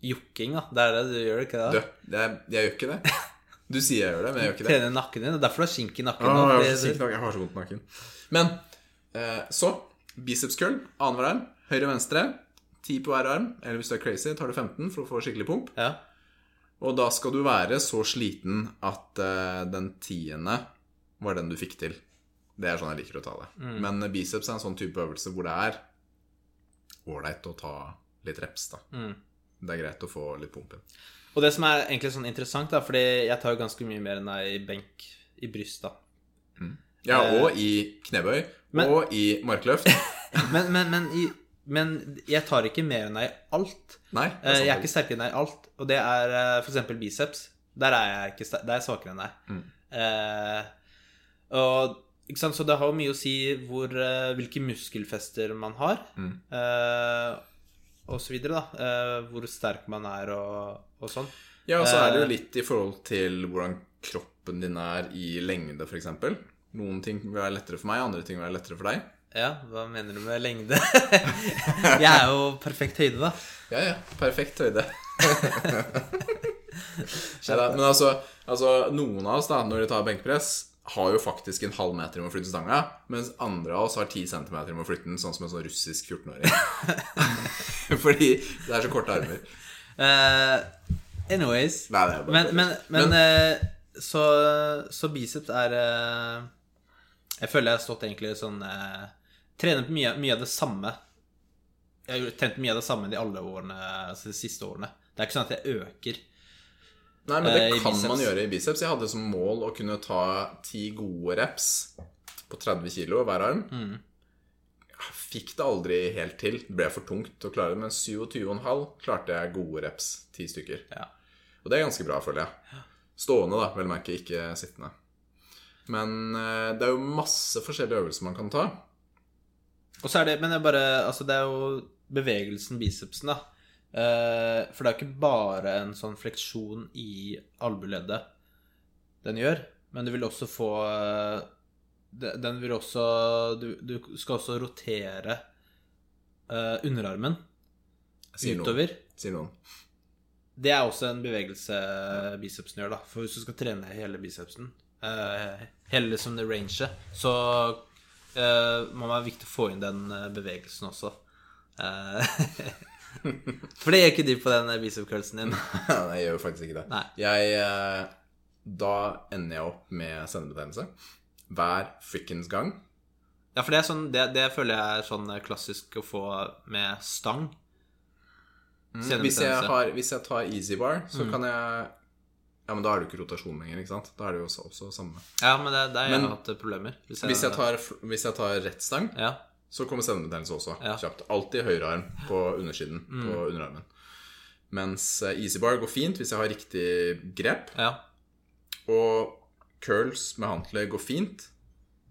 [SPEAKER 1] Jokking, da. Det er det du gjør, ikke
[SPEAKER 2] Du,
[SPEAKER 1] det?
[SPEAKER 2] det er, jeg gjør ikke det. Du sier jeg gjør det, men jeg gjør ikke det.
[SPEAKER 1] Trener nakken din. og Derfor du har skink i nakken.
[SPEAKER 2] Åh,
[SPEAKER 1] nå,
[SPEAKER 2] Ah, jeg, har så
[SPEAKER 1] fordi-
[SPEAKER 2] sykt nak- jeg har så vondt i nakken. Men eh, så biceps curl, annenhver arm. Høyre og venstre. 10 på hver arm. Eller hvis du er crazy, tar du 15 for å få skikkelig pump.
[SPEAKER 1] ja.
[SPEAKER 2] Og da skal du være så sliten at eh, den tiende var den du fikk til. Det er sånn jeg liker å ta det.
[SPEAKER 1] Mm.
[SPEAKER 2] Men biceps er en sånn type øvelse hvor det er ålreit å ta litt reps, da.
[SPEAKER 1] Mm.
[SPEAKER 2] Det er greit å få litt pump inn.
[SPEAKER 1] Og det som er egentlig sånn interessant, da, fordi jeg tar jo ganske mye mer enn deg i benk i bryst, da.
[SPEAKER 2] Ja, og i knebøy.
[SPEAKER 1] Eh, Men-
[SPEAKER 2] og i markløft.
[SPEAKER 1] Men, men, men i Men jeg tar ikke mer enn deg i alt.
[SPEAKER 2] Nei, det sånn
[SPEAKER 1] Eh,
[SPEAKER 2] sant,
[SPEAKER 1] Jeg er ikke
[SPEAKER 2] Felix.
[SPEAKER 1] sterkere enn deg i alt, og det er eh, for eksempel biceps. Der er jeg, ikke, ster- der er jeg svakere enn deg.
[SPEAKER 2] Mm,
[SPEAKER 1] Eh, og, ikke sant? Så det har jo mye å si hvor, eh, hvilke muskelfester man har,
[SPEAKER 2] Mm.
[SPEAKER 1] eh, og så videre, da. Eh, hvor sterk man er og, og sånn.
[SPEAKER 2] Ja, og så er det jo litt i forhold til hvordan kroppen din er i lengde, f.eks. Noen ting vil være lettere for meg, andre ting vil være lettere for deg.
[SPEAKER 1] Ja, hva mener du med lengde? *laughs* jeg er jo perfekt høyde, da.
[SPEAKER 2] Ja, ja. Perfekt høyde. *laughs* Neida, men altså, altså, noen av oss, da, når de tar benkpress, har jo faktisk en halv meter om å flytte stanga, mens andre av oss har ti centimeter om å flytte den, sånn som en sånn russisk *laughs* 14-åring. Fordi det er så korte armer.
[SPEAKER 1] Eh, anyways.
[SPEAKER 2] Nei, det er bare
[SPEAKER 1] men men, men,
[SPEAKER 2] Men-
[SPEAKER 1] eh, så, så biceps er eh, Jeg føler jeg har stått egentlig sånn eh, Trener på mye, mye av det samme. Jeg har jo trent mye av det samme de alle årene altså de siste årene. Det er ikke sånn at jeg øker.
[SPEAKER 2] Nei, men det
[SPEAKER 1] Eh, i
[SPEAKER 2] kan
[SPEAKER 1] biceps.
[SPEAKER 2] man gjøre i biceps. Jeg hadde som mål å kunne ta ti gode reps på 30 kilo hver arm. Jeg Fikk det aldri helt til. Det ble for tungt å klare det, men 27,5 klarte jeg gode reps. Ti stykker.
[SPEAKER 1] Ja.
[SPEAKER 2] Og det er ganske bra, føler jeg. Stående, da, vel å merke, ikke sittende. Men eh, det er jo masse forskjellige øvelser man kan ta.
[SPEAKER 1] Og så er det Men det er bare Altså, det er jo bevegelsen bicepsen, da. Eh, for det er jo ikke bare en sånn fleksjon i albueleddet den gjør, men du vil også få eh, de- Den vil også Du, du skal også rotere eh, underarmen
[SPEAKER 2] Sier noen.
[SPEAKER 1] utover.
[SPEAKER 2] Sier noen.
[SPEAKER 1] Det er også en bevegelse bicepsen gjør, da. For hvis du skal trene hele bicepsen, eh, hele liksom det ranget, så eh, må det være viktig å få inn den eh, bevegelsen også. Eh, *laughs* for det gjør ikke du på den bicepcurlsen din.
[SPEAKER 2] *laughs* Nei, jeg gjør jo faktisk ikke det.
[SPEAKER 1] Nei.
[SPEAKER 2] Jeg, eh, da ender jeg opp med sendebetennelse hver frikkens gang.
[SPEAKER 1] Ja, for det, er sånn, det, det føler jeg er sånn klassisk å få med stang.
[SPEAKER 2] Mm. Hvis jeg,
[SPEAKER 1] Senebetennelse.
[SPEAKER 2] har, hvis jeg tar easy bar, så
[SPEAKER 1] Mm.
[SPEAKER 2] kan jeg Ja, men da er det jo ikke rotasjon lenger, ikke sant? Da er det jo også, også samme.
[SPEAKER 1] Ja, men det er der jeg
[SPEAKER 2] Men-
[SPEAKER 1] har hatt eh, problemer.
[SPEAKER 2] Hvis jeg tar, f- hvis jeg tar rett stang,
[SPEAKER 1] ja.
[SPEAKER 2] så kommer sendebetennelse også.
[SPEAKER 1] Ja. Mm.
[SPEAKER 2] Kjapt. Alltid høyre arm på undersiden på underarmen. Mens eh, easy bar går fint hvis jeg har riktig grep.
[SPEAKER 1] ja.
[SPEAKER 2] Og curls med håndkle går fint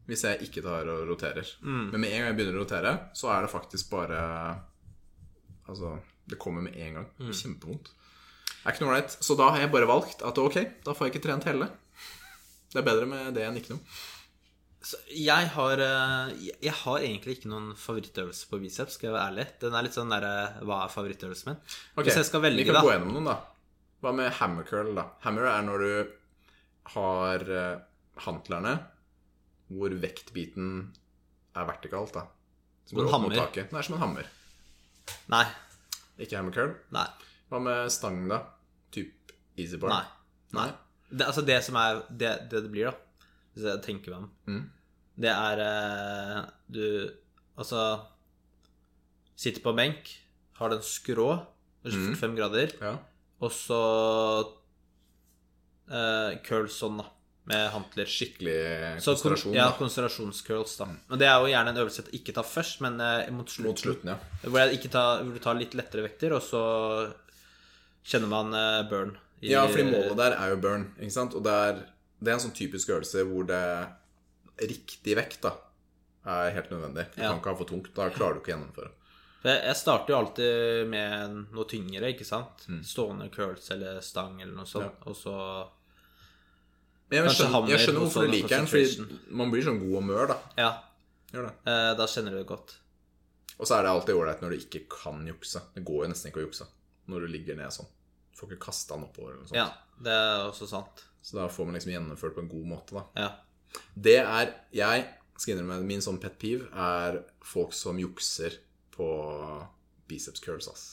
[SPEAKER 2] hvis jeg ikke tar og roterer.
[SPEAKER 1] Mm.
[SPEAKER 2] Men med en gang jeg begynner å rotere, så er det faktisk bare Altså, det kommer med en gang.
[SPEAKER 1] Mm.
[SPEAKER 2] Kjempevondt. Er ikke noe ålreit. Så da har jeg bare valgt at ok, da får jeg ikke trent hele. Det er bedre med det enn ikke noe.
[SPEAKER 1] Så jeg har eh, Jeg jeg har egentlig ikke noen favorittøvelse på biceps, skal jeg være ærlig. Den er litt sånn derre Hva er favorittøvelsen min?
[SPEAKER 2] Ok,
[SPEAKER 1] Hvis jeg skal velge,
[SPEAKER 2] Vi kan
[SPEAKER 1] da.
[SPEAKER 2] gå gjennom noen, da. Hva med hammer curl, da? Hammer er når du har eh, håndklærne hvor vektbiten er vertikalt, da. Som
[SPEAKER 1] Som en
[SPEAKER 2] går opp mot
[SPEAKER 1] hammer.
[SPEAKER 2] taket. Det er som en hammer.
[SPEAKER 1] Nei.
[SPEAKER 2] Ikke hammer curl.
[SPEAKER 1] Nei.
[SPEAKER 2] Hva med stang, da? Typ easy bar?
[SPEAKER 1] Nei. Nei. Det, altså, det som er det, det det blir, da, hvis jeg tenker meg om,
[SPEAKER 2] Mm.
[SPEAKER 1] det er eh, Du altså Sitter på benk, har den skrå, 45 grader,
[SPEAKER 2] Ja.
[SPEAKER 1] og så eh, curls sånn, da, med håndklær.
[SPEAKER 2] Skikkelig
[SPEAKER 1] Så kon
[SPEAKER 2] konsentrasjon
[SPEAKER 1] ja,
[SPEAKER 2] da. Mm.
[SPEAKER 1] konsentrasjonscurls, da. Og det er jo gjerne en øvelse jeg ikke tar først, men eh, mot slutten.
[SPEAKER 2] mot slutten, ja.
[SPEAKER 1] Hvor, jeg ikke tar, hvor du tar litt lettere vekter, og så kjenner man eh, burn. i-
[SPEAKER 2] Ja, fordi målet der er jo burn, ikke sant? Og det er, det er en sånn typisk øvelse hvor det riktig vekt da er helt nødvendig. Du
[SPEAKER 1] Ja.
[SPEAKER 2] kan ikke ha for tungt. Da klarer du ikke å gjennomføre.
[SPEAKER 1] For Jeg jeg starter jo alltid med noe tyngre, ikke sant?
[SPEAKER 2] Mm.
[SPEAKER 1] Stående curls eller stang eller noe sånt. Og så
[SPEAKER 2] Men jeg
[SPEAKER 1] Kanskje
[SPEAKER 2] skjønner, jeg
[SPEAKER 1] hammer,
[SPEAKER 2] skjønner hvorfor
[SPEAKER 1] motstand
[SPEAKER 2] du
[SPEAKER 1] og
[SPEAKER 2] liker den, fordi man blir sånn god humør, da.
[SPEAKER 1] Ja,
[SPEAKER 2] Gjør det.
[SPEAKER 1] eh, da kjenner du det godt.
[SPEAKER 2] Og så er det alltid ålreit når du ikke kan jukse. Det går jo nesten ikke å jukse når du ligger ned sånn. Du får ikke kasta den oppover eller noe sånt.
[SPEAKER 1] Ja, det er også sant.
[SPEAKER 2] Så da får man liksom gjennomført på en god måte, da.
[SPEAKER 1] Ja.
[SPEAKER 2] Det er Jeg skal innrømme min sånn pet peeve er folk som jukser på biceps curls, ass.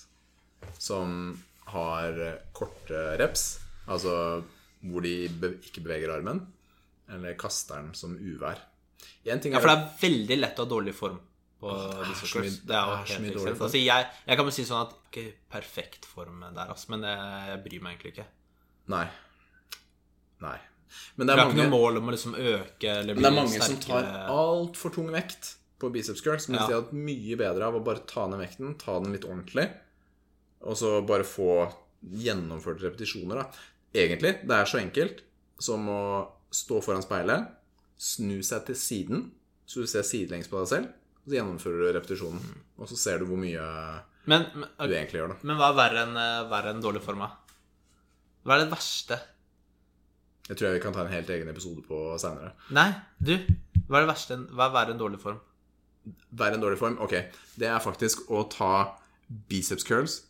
[SPEAKER 2] Som har korte reps, altså hvor de be ikke beveger armen, eller kaster den som uvær. En ting
[SPEAKER 1] ja,
[SPEAKER 2] er
[SPEAKER 1] for det er veldig lett å ha dårlig form på disse
[SPEAKER 2] så
[SPEAKER 1] curls.
[SPEAKER 2] mye-
[SPEAKER 1] Det er jo
[SPEAKER 2] det er så
[SPEAKER 1] helt
[SPEAKER 2] mye dårlig
[SPEAKER 1] ekstremt.
[SPEAKER 2] form.
[SPEAKER 1] Altså, jeg, jeg kan vel si sånn at Ikke perfekt form der, altså, men det, jeg bryr meg egentlig ikke.
[SPEAKER 2] Nei. Nei. Men det
[SPEAKER 1] Vi
[SPEAKER 2] er
[SPEAKER 1] har ikke noe
[SPEAKER 2] mange,
[SPEAKER 1] mål om å liksom øke eller
[SPEAKER 2] men det er
[SPEAKER 1] bli
[SPEAKER 2] mange som tar
[SPEAKER 1] sterkere.
[SPEAKER 2] altfor tung vekt på biceps curl, som
[SPEAKER 1] Ja.
[SPEAKER 2] jeg hadde hatt mye bedre av å bare ta ned vekten, ta den litt ordentlig, og så bare få gjennomførte repetisjoner, da. Egentlig, det er så enkelt som å stå foran speilet, snu seg til siden, så du ser sidelengs på deg selv, og så gjennomfører du repetisjonen. Og så ser du hvor mye
[SPEAKER 1] Men, men, Mm.
[SPEAKER 2] du
[SPEAKER 1] ok,
[SPEAKER 2] egentlig gjør, da.
[SPEAKER 1] men hva er verre enn eh, verre enn dårlig form? da? Hva er det verste?
[SPEAKER 2] Jeg tror jeg vi kan ta en helt egen episode på seinere.
[SPEAKER 1] Nei, du. Hva er det verste enn Hva er verre enn dårlig form?
[SPEAKER 2] Verre enn dårlig form? Ok. Det er faktisk å ta biceps curls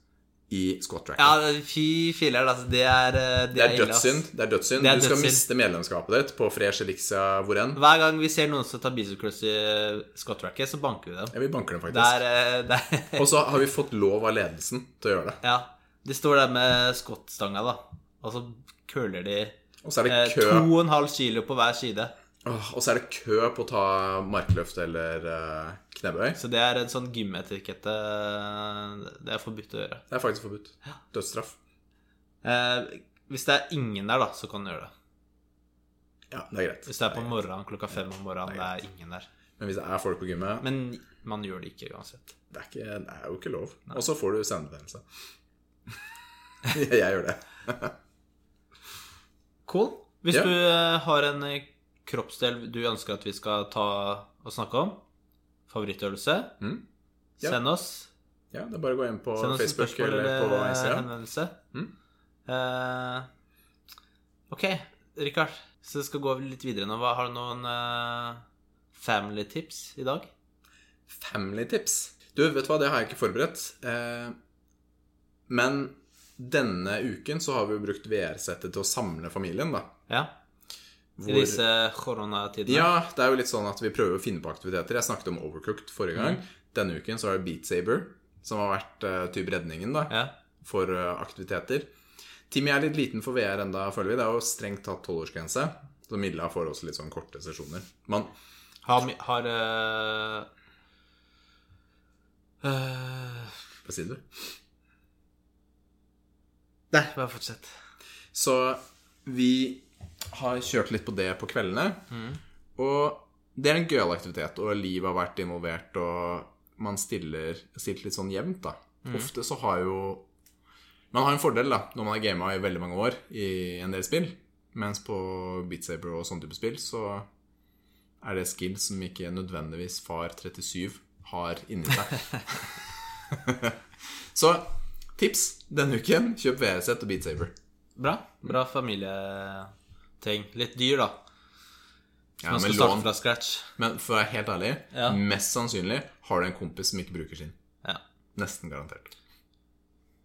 [SPEAKER 2] i squat track.
[SPEAKER 1] Ja, fy filler, altså. Det er eh,
[SPEAKER 2] Det er
[SPEAKER 1] ille, ass.
[SPEAKER 2] dødssynd. Det er dødssynd.
[SPEAKER 1] Det er
[SPEAKER 2] du skal
[SPEAKER 1] dødssynd.
[SPEAKER 2] miste medlemskapet ditt på Fresh Elixia hvor enn.
[SPEAKER 1] Hver gang vi ser noen som tar bicepcross i skattracket, så banker vi dem.
[SPEAKER 2] Ja, vi banker dem
[SPEAKER 1] Det
[SPEAKER 2] faktisk.
[SPEAKER 1] er, eh, det er
[SPEAKER 2] Og så har vi fått lov av ledelsen til å gjøre det.
[SPEAKER 1] Ja. De står der med skottstanga, da. Og så køler de
[SPEAKER 2] Og så er det
[SPEAKER 1] eh,
[SPEAKER 2] kø,
[SPEAKER 1] to og en halv kilo på hver side.
[SPEAKER 2] Åh, og så er det kø på å ta markløft eller eh, knebøy.
[SPEAKER 1] Så det er en sånn gymetikette eh, Det er forbudt å gjøre.
[SPEAKER 2] Det er faktisk forbudt. Dødsstraff.
[SPEAKER 1] Eh, hvis det er ingen der, da, så kan du gjøre det.
[SPEAKER 2] Ja, det er greit.
[SPEAKER 1] Hvis det er på morgenen klokka fem om morgenen, det er ingen der.
[SPEAKER 2] Men hvis det er folk på gymmet,
[SPEAKER 1] Men man gjør det ikke uansett.
[SPEAKER 2] det er, ikke, det er jo ikke lov. Og så får du senebetennelse. *laughs* jeg,
[SPEAKER 1] *laughs*
[SPEAKER 2] jeg gjør det.
[SPEAKER 1] Cool. Hvis
[SPEAKER 2] Ja.
[SPEAKER 1] du eh, har en eh, kroppsdel du ønsker at vi skal ta og snakke om, favorittøvelse,
[SPEAKER 2] Mm. Ja.
[SPEAKER 1] send oss.
[SPEAKER 2] Ja, det er bare å gå inn på
[SPEAKER 1] Send oss et
[SPEAKER 2] Facebook
[SPEAKER 1] spørsmål
[SPEAKER 2] eller på
[SPEAKER 1] eller
[SPEAKER 2] Instagram.
[SPEAKER 1] henvendelse.
[SPEAKER 2] Mm.
[SPEAKER 1] Eh, ok, Rikard. Så det skal gå litt videre nå. Hva- Har du noen eh, family tips i dag?
[SPEAKER 2] Family tips. Du, vet du hva, det har jeg ikke forberedt. Eh, men denne uken så har vi jo brukt VR-settet til å samle familien, da.
[SPEAKER 1] Ja, I
[SPEAKER 2] Hvor-
[SPEAKER 1] disse koronatidene.
[SPEAKER 2] ja, det er jo litt sånn at vi prøver å finne på aktiviteter. Jeg snakket om Overcooked forrige gang.
[SPEAKER 1] Mm.
[SPEAKER 2] Denne uken så er det Beat Saber, som har vært eh, typ redningen, da,
[SPEAKER 1] Ja.
[SPEAKER 2] for eh, aktiviteter. Timmy er litt liten for VR enda, føler vi. Det er jo strengt tatt tolvårsgrense. Så Milla får også litt sånn korte sesjoner. Man,
[SPEAKER 1] Har, mi- har eh, eh,
[SPEAKER 2] hva sier du?
[SPEAKER 1] Nei, bare fortsett.
[SPEAKER 2] Så vi har kjørt litt på det på kveldene. Og det er en gøyal aktivitet, og Liv har vært involvert, og man stiller, stilt litt sånn jevnt, da. Ofte så har jo Man har en fordel, da, når man har gama i veldig mange år i en del spill. Mens på Beat Saber og sånne type spill så er det skill som ikke nødvendigvis far 37 har inni seg. *laughs* så tips denne uken kjøp VR-sett og Beat Saber.
[SPEAKER 1] Bra. Bra familieting. Litt dyr, da.
[SPEAKER 2] Ja,
[SPEAKER 1] Man
[SPEAKER 2] men,
[SPEAKER 1] skal
[SPEAKER 2] lån,
[SPEAKER 1] starte fra scratch.
[SPEAKER 2] men for å være helt ærlig,
[SPEAKER 1] Ja.
[SPEAKER 2] mest sannsynlig har du en kompis som ikke bruker sin.
[SPEAKER 1] Ja.
[SPEAKER 2] Nesten garantert.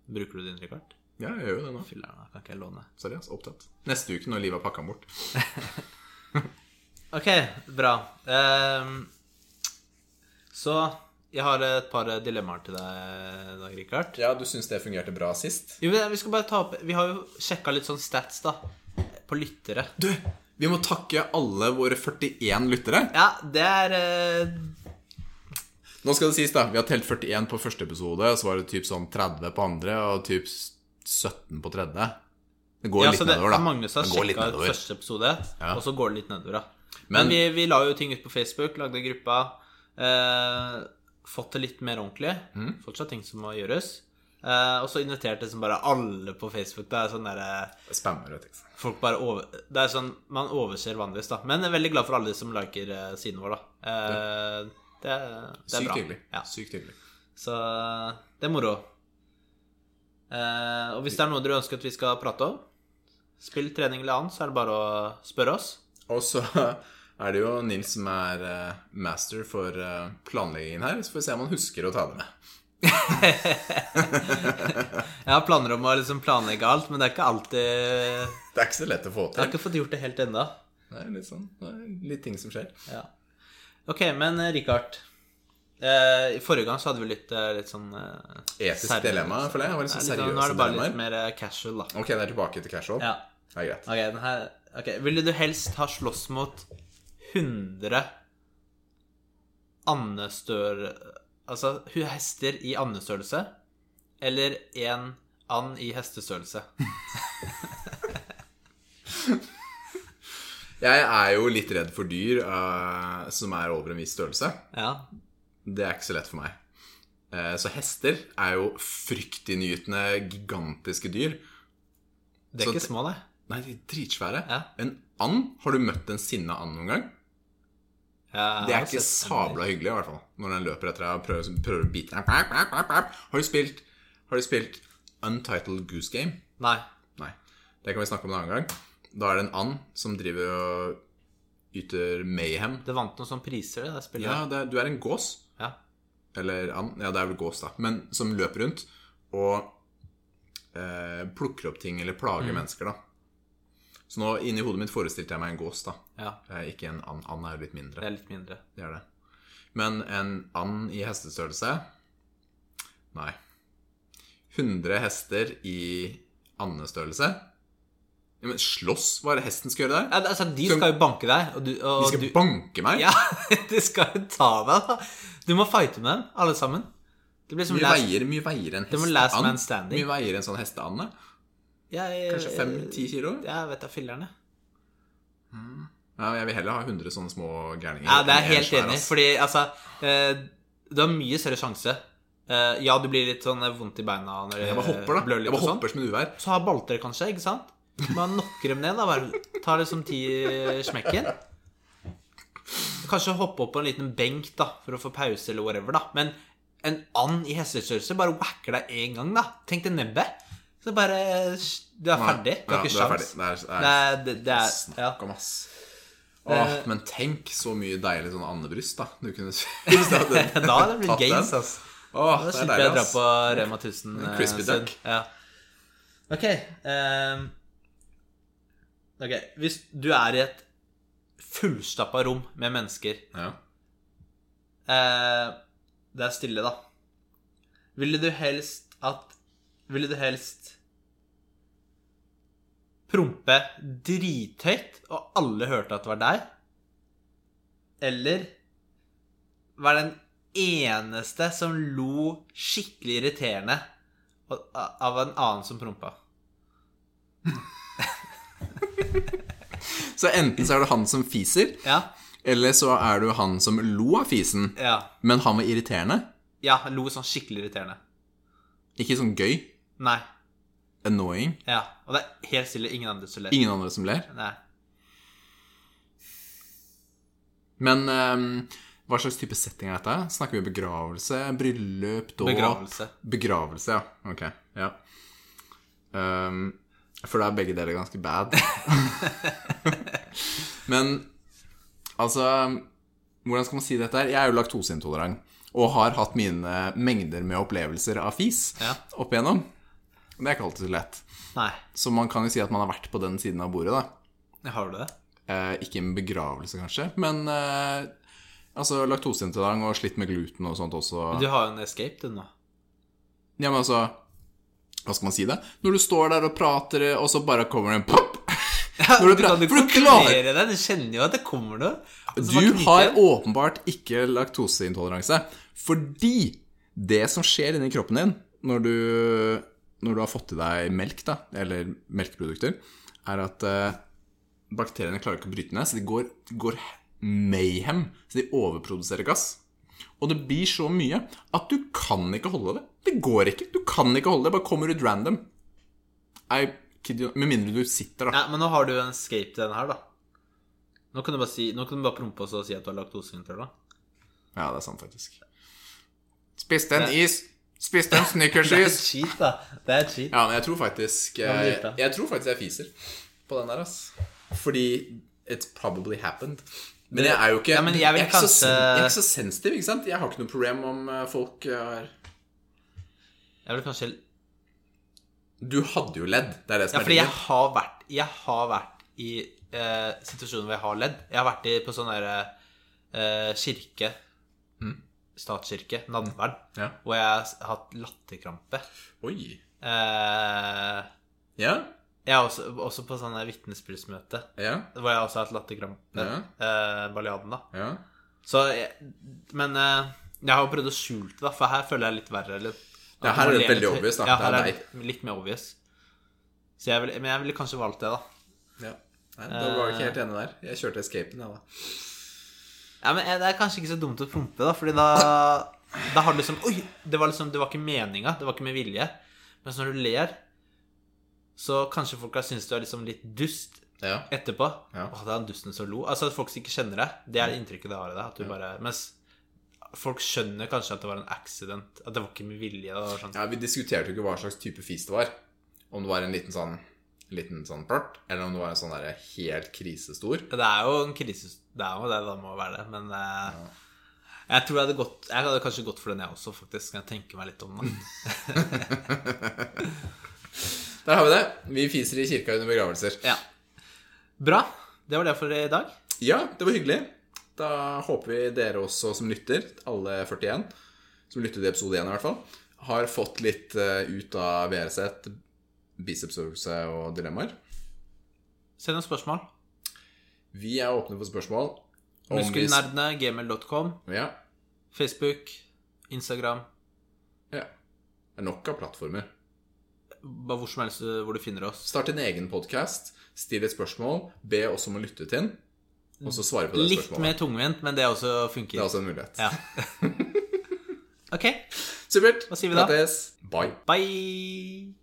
[SPEAKER 1] Bruker du din Rikard?
[SPEAKER 2] Ja, jeg gjør jo det nå.
[SPEAKER 1] Filler'n, da kan ikke jeg låne.
[SPEAKER 2] Sorry, ass. Opptatt. Neste uke, når livet har pakka den bort.
[SPEAKER 1] Ok, bra. Ehm, så jeg har et par dilemmaer til deg i dag, Rikard.
[SPEAKER 2] Ja, du syns det fungerte bra sist?
[SPEAKER 1] Jo, men vi skal bare ta opp Vi har jo sjekka litt sånn stats, da. På lyttere.
[SPEAKER 2] Du, vi må takke alle våre 41 lyttere.
[SPEAKER 1] Ja, det er eh,
[SPEAKER 2] Nå skal det sies, da. Vi har telt 41 på første episode, og så var det typ sånn 30 på andre, og typ 17 på tredje. Det går
[SPEAKER 1] Ja,
[SPEAKER 2] litt
[SPEAKER 1] så det,
[SPEAKER 2] nedover, da.
[SPEAKER 1] Magnus har
[SPEAKER 2] det går litt
[SPEAKER 1] sjekka ut
[SPEAKER 2] nedover.
[SPEAKER 1] første episode,
[SPEAKER 2] Ja.
[SPEAKER 1] og så går det litt nedover, da.
[SPEAKER 2] Men-
[SPEAKER 1] Men, vi, vi la jo ting ut på Facebook, lagde gruppa. Eh, fått det litt mer ordentlig.
[SPEAKER 2] Mm.
[SPEAKER 1] Fortsatt ting som må gjøres. Eh, og så inviterte liksom bare alle på Facebook. Det er sånn der, eh,
[SPEAKER 2] Spammer, vet du.
[SPEAKER 1] folk bare over, Det er sånn Man overser vanligvis, da. Men jeg er veldig glad for alle de som liker eh, siden vår, da. Eh, det, er- det er
[SPEAKER 2] Sykt
[SPEAKER 1] bra.
[SPEAKER 2] hyggelig.
[SPEAKER 1] Ja.
[SPEAKER 2] Sykt hyggelig.
[SPEAKER 1] Så det er moro. Eh, og hvis det er noe dere ønsker at vi skal prate om, spill, trening eller annet, så er det bare å spørre oss.
[SPEAKER 2] Og så er det jo Nils som er eh, master for eh, planleggingen her, så får vi se om han husker å ta det med.
[SPEAKER 1] Jeg har planer om å liksom planlegge alt, men det er ikke alltid Jeg
[SPEAKER 2] Det er ikke så lett å få
[SPEAKER 1] har
[SPEAKER 2] til.
[SPEAKER 1] ikke fått gjort det helt ennå.
[SPEAKER 2] Det er litt sånn, det er litt ting som skjer.
[SPEAKER 1] Ja. Ok, men eh, Richard. Eh, I forrige gang så hadde vi litt, eh, litt sånn eh,
[SPEAKER 2] Etisk
[SPEAKER 1] seriøse-
[SPEAKER 2] dilemma, føler jeg. Det var
[SPEAKER 1] Ja,
[SPEAKER 2] litt sånn
[SPEAKER 1] litt sånn- Nå er
[SPEAKER 2] seriøse
[SPEAKER 1] det bare litt
[SPEAKER 2] dilemmaer.
[SPEAKER 1] mer eh, casual, da.
[SPEAKER 2] Ok, det er tilbake til casual.
[SPEAKER 1] Ja.
[SPEAKER 2] Det er greit.
[SPEAKER 1] Ok, den her Ok, Ville du helst ha slåss mot 100 andestør... Altså hu- hester i andestørrelse eller én
[SPEAKER 2] *laughs*
[SPEAKER 1] and i hestestørrelse?
[SPEAKER 2] Jeg er jo litt redd for dyr eh, som er over en viss størrelse.
[SPEAKER 1] Ja.
[SPEAKER 2] Det er ikke så lett for meg. Eh, så hester er jo fryktinngytende, gigantiske dyr.
[SPEAKER 1] De er
[SPEAKER 2] Så
[SPEAKER 1] ikke
[SPEAKER 2] det-
[SPEAKER 1] små, det.
[SPEAKER 2] Nei, de er dritsvære.
[SPEAKER 1] Ja.
[SPEAKER 2] En and Har du møtt en sinna and noen gang?
[SPEAKER 1] Ja,
[SPEAKER 2] Det
[SPEAKER 1] jeg
[SPEAKER 2] er
[SPEAKER 1] har
[SPEAKER 2] ikke
[SPEAKER 1] sett-
[SPEAKER 2] sabla hyggelig, i hvert fall. Når den løper etter deg og prøver, prøver å bite deg. Pap, pap, pap, pap. Har du spilt Har du spilt Untitled Goose Game?
[SPEAKER 1] Nei.
[SPEAKER 2] Nei. Det kan vi snakke om en annen gang. Da er det en and som driver og yter mayhem.
[SPEAKER 1] Det vant noen sånne priser, det, det spillet.
[SPEAKER 2] Ja, det, er- du er en gås.
[SPEAKER 1] Ja.
[SPEAKER 2] Eller and. Ja, det er vel gås, da. Men som løper rundt og eh, plukker opp ting eller plager
[SPEAKER 1] Mm.
[SPEAKER 2] mennesker, da. Så nå inni hodet mitt forestilte jeg meg en gås, da.
[SPEAKER 1] ja.
[SPEAKER 2] Eh, ikke en and. And er jo litt mindre.
[SPEAKER 1] Det er litt mindre.
[SPEAKER 2] Det er det. Men en and i hestestørrelse? Nei. 100 hester i andestørrelse? Ja, men slåss? Hva er det hesten skal gjøre der?
[SPEAKER 1] Ja, det- altså, de skal jo banke deg, og du, og
[SPEAKER 2] De skal
[SPEAKER 1] du
[SPEAKER 2] banke meg?
[SPEAKER 1] *laughs* Ja, de skal jo ta deg, da. Du må fighte med dem, alle sammen. Det blir som
[SPEAKER 2] Mye
[SPEAKER 1] last,
[SPEAKER 2] veier, mye veier en
[SPEAKER 1] det var last man
[SPEAKER 2] hesteand?
[SPEAKER 1] standing.
[SPEAKER 2] Mye veier en sånn hesteand? da?
[SPEAKER 1] Jeg-
[SPEAKER 2] Kanskje 5-10 kilo?
[SPEAKER 1] Jeg vet da fillerne.
[SPEAKER 2] Ja, jeg vil heller ha 100 sånne små gærninger.
[SPEAKER 1] Ja, det er
[SPEAKER 2] enn en
[SPEAKER 1] jeg helt
[SPEAKER 2] svær,
[SPEAKER 1] enig i.
[SPEAKER 2] ass.
[SPEAKER 1] Fordi altså eh, Du har mye større sjanse. Eh, Ja, du blir litt sånn eh, vondt i beina når
[SPEAKER 2] Jeg bare hopper, da.
[SPEAKER 1] blør litt
[SPEAKER 2] Jeg bare
[SPEAKER 1] og sånn.
[SPEAKER 2] hopper som en uvær.
[SPEAKER 1] Så har balter kanskje, ikke sant? Man knocker dem ned, da. Bare tar liksom ti smekken. Kanskje hoppe opp på en liten benk da for å få pause eller whatever, da. Men en and i hestestørrelse bare whacker deg én gang, da. Tenk deg nebbet. Så bare Du er
[SPEAKER 2] Nei.
[SPEAKER 1] ferdig. Du har
[SPEAKER 2] Ja,
[SPEAKER 1] ikke
[SPEAKER 2] du er
[SPEAKER 1] sjans.
[SPEAKER 2] ferdig. Det er- det er-
[SPEAKER 1] Det er, det, det er ja.
[SPEAKER 2] Snakk om, ass. Åh, men tenk så mye deilig sånn andebryst, da. Du kunne *laughs* spist
[SPEAKER 1] *laughs*
[SPEAKER 2] av den.
[SPEAKER 1] *laughs* Da hadde det
[SPEAKER 2] Tatt
[SPEAKER 1] blitt
[SPEAKER 2] den.
[SPEAKER 1] gains, altså.
[SPEAKER 2] Åh,
[SPEAKER 1] Da
[SPEAKER 2] det er
[SPEAKER 1] slipper jeg å
[SPEAKER 2] deilig,
[SPEAKER 1] dra
[SPEAKER 2] ass.
[SPEAKER 1] på Rema 1000.
[SPEAKER 2] En crispy
[SPEAKER 1] eh, sted.
[SPEAKER 2] duck.
[SPEAKER 1] Ja. Ok, ehm, ok, Hvis du er i et fullstappa rom med mennesker
[SPEAKER 2] Ja.
[SPEAKER 1] eh, Det er stille, da. Ville du helst at Ville du helst prompe drithøyt, og alle hørte at det var deg? Eller være den eneste som lo skikkelig irriterende og- av en annen som prompa?
[SPEAKER 2] Så enten så er du han som fiser,
[SPEAKER 1] Ja,
[SPEAKER 2] eller så er du han som lo av fisen,
[SPEAKER 1] ja,
[SPEAKER 2] men han var irriterende.
[SPEAKER 1] ja, lo sånn skikkelig irriterende.
[SPEAKER 2] Ikke sånn gøy,
[SPEAKER 1] Nei,
[SPEAKER 2] annoying,
[SPEAKER 1] ja, og det er helt stille, ingen andre som ler.
[SPEAKER 2] ingen andre som ler.
[SPEAKER 1] Nei.
[SPEAKER 2] Men ehm, hva slags type setting er dette? Snakker vi begravelse, bryllup, dåp?
[SPEAKER 1] Begravelse.
[SPEAKER 2] Begravelse, ja. Ok. Ja. Ehm, for da er begge deler ganske bad. Men altså Hvordan skal man si dette her? Jeg er jo laktoseintolerant. Og har hatt mine mengder med opplevelser av fis
[SPEAKER 1] Ja.
[SPEAKER 2] opp igjennom. Det er ikke alltid så lett.
[SPEAKER 1] Nei.
[SPEAKER 2] Så man kan jo si at man har vært på den siden av bordet, da.
[SPEAKER 1] Har du det?
[SPEAKER 2] Eh, ikke en begravelse, kanskje, men eh, altså laktoseintolerant og slitt med gluten og sånt også.
[SPEAKER 1] Du har jo en escape, du, nå.
[SPEAKER 2] *laughs* Ja, men altså Hva skal man si det? Når du står der og prater, og så bare kommer det en pop! Når
[SPEAKER 1] du
[SPEAKER 2] du
[SPEAKER 1] kan
[SPEAKER 2] prater-
[SPEAKER 1] jo
[SPEAKER 2] for du klarer
[SPEAKER 1] kontrollere deg. Du kjenner jo at det kommer noe. Og så bare
[SPEAKER 2] Du
[SPEAKER 1] knyter
[SPEAKER 2] har
[SPEAKER 1] jeg-
[SPEAKER 2] åpenbart ikke laktoseintoleranse. Fordi det som skjer inni kroppen din når du, når du har fått i deg melk, da, eller melkeprodukter, er at eh, bakteriene klarer ikke å bryte ned, så de går, de går mayhem. Så de overproduserer gass. Og det blir så mye at du kan ikke holde det. Det går ikke. Du kan ikke holde det. Det bare kommer ut random. I kid you, med mindre du sitter, da.
[SPEAKER 1] Nei, men nå har du jo en escape til denne her, da. Nå kan du bare, si, nå kan du bare prompe og så si at du har
[SPEAKER 2] *laughs*
[SPEAKER 1] laktoseintolerant.
[SPEAKER 2] Ja, det er sant, faktisk. Spiste en is. Spiste en
[SPEAKER 1] *laughs*
[SPEAKER 2] snickersis.
[SPEAKER 1] cheat, da. Det er cheat.
[SPEAKER 2] Ja, men jeg tror faktisk
[SPEAKER 1] men
[SPEAKER 2] eh,
[SPEAKER 1] litt, da.
[SPEAKER 2] Jeg tror faktisk jeg fiser på den der, ass. Fordi it's probably happened. Men jeg er jo ikke
[SPEAKER 1] Ja, men jeg vil
[SPEAKER 2] er ikke så
[SPEAKER 1] kanskje-
[SPEAKER 2] sen- jeg er ikke så sensitiv, ikke sant? Jeg har ikke noe problem om eh, folk er
[SPEAKER 1] Jeg vil kanskje
[SPEAKER 2] Du hadde jo ledd. Det er det
[SPEAKER 1] Ja,
[SPEAKER 2] som er
[SPEAKER 1] fordi jeg har vært Jeg har vært i eh, situasjoner hvor jeg har ledd. Jeg har vært i, på sånn derre eh, kirke
[SPEAKER 2] Mm.
[SPEAKER 1] Statskirke, Nadvern,
[SPEAKER 2] Ja.
[SPEAKER 1] hvor jeg har s- hatt latterkrampe.
[SPEAKER 2] Oi.
[SPEAKER 1] Eh,
[SPEAKER 2] Ja.
[SPEAKER 1] jeg er også, også på sånn der vitnesbyrdsmøte.
[SPEAKER 2] Ja.
[SPEAKER 1] Hvor jeg også har hatt latterkrampe.
[SPEAKER 2] Ja.
[SPEAKER 1] Eh, balladen, da.
[SPEAKER 2] Ja.
[SPEAKER 1] Så jeg, Men eh, jeg har jo prøvd å skjule det, da, for her føler jeg litt verre. Eller,
[SPEAKER 2] Ja, her er det veldig obvious, da.
[SPEAKER 1] Ja,
[SPEAKER 2] Det er
[SPEAKER 1] her er det litt mer obvious. Så jeg vil, men jeg ville kanskje valgt det, da.
[SPEAKER 2] ja. Nei, da var
[SPEAKER 1] Eh.
[SPEAKER 2] jeg ikke helt enig der. Jeg kjørte Escapen, jeg, da.
[SPEAKER 1] Ja, men eh, Det er kanskje ikke så dumt å prompe, da, Fordi da, da har du liksom Oi! Det var liksom, det var ikke meninga. Det var ikke med vilje. Mens når du ler, så kanskje folk har syntes du er liksom litt dust
[SPEAKER 2] Ja.
[SPEAKER 1] etterpå.
[SPEAKER 2] Ja.
[SPEAKER 1] Åh, det er han dusten som lo. Altså at folk ikke kjenner deg. Det er det inntrykket det har av deg. At du bare Mens folk skjønner kanskje at det var en accident. At det var ikke med vilje. Det var sånn
[SPEAKER 2] Ja, Vi diskuterte jo ikke hva slags type fis det var. Om det var en liten sånn Liten sånn plart, eller om det var en sånn der helt krisestor.
[SPEAKER 1] Det er jo en krise Det er jo det, det må være det, men eh, Jeg tror jeg hadde gått Jeg hadde kanskje gått for den jeg også, faktisk. Kan jeg tenke meg litt om den.
[SPEAKER 2] Mm. Der har vi det. Vi fiser i kirka under begravelser.
[SPEAKER 1] *laughs* Ja. Bra. Det var det for i dag.
[SPEAKER 2] Ja, det var hyggelig. Da håper vi dere også som lytter, alle 41, som lytter til episode 1 i hvert fall, har fått litt eh, ut av VRZ, bicepsøvelse og dilemmaer.
[SPEAKER 1] Send oss spørsmål.
[SPEAKER 2] Vi er åpne for spørsmål. om vi-
[SPEAKER 1] Muskelnerdene, gmail.com,
[SPEAKER 2] Ja.
[SPEAKER 1] Facebook, Instagram
[SPEAKER 2] ja. Det er nok av plattformer.
[SPEAKER 1] Bare hvor som helst eh, hvor du finner oss.
[SPEAKER 2] Start din egen podkast, still et spørsmål, be oss om å lytte til den, og så svare på det
[SPEAKER 1] Litt
[SPEAKER 2] spørsmålet.
[SPEAKER 1] mer tungvint, men det også
[SPEAKER 2] Det er
[SPEAKER 1] funker.
[SPEAKER 2] også en mulighet.
[SPEAKER 1] Ja. OK.
[SPEAKER 2] Supert.
[SPEAKER 1] Hva sier vi da?
[SPEAKER 2] Prates. Bye.
[SPEAKER 1] Bye.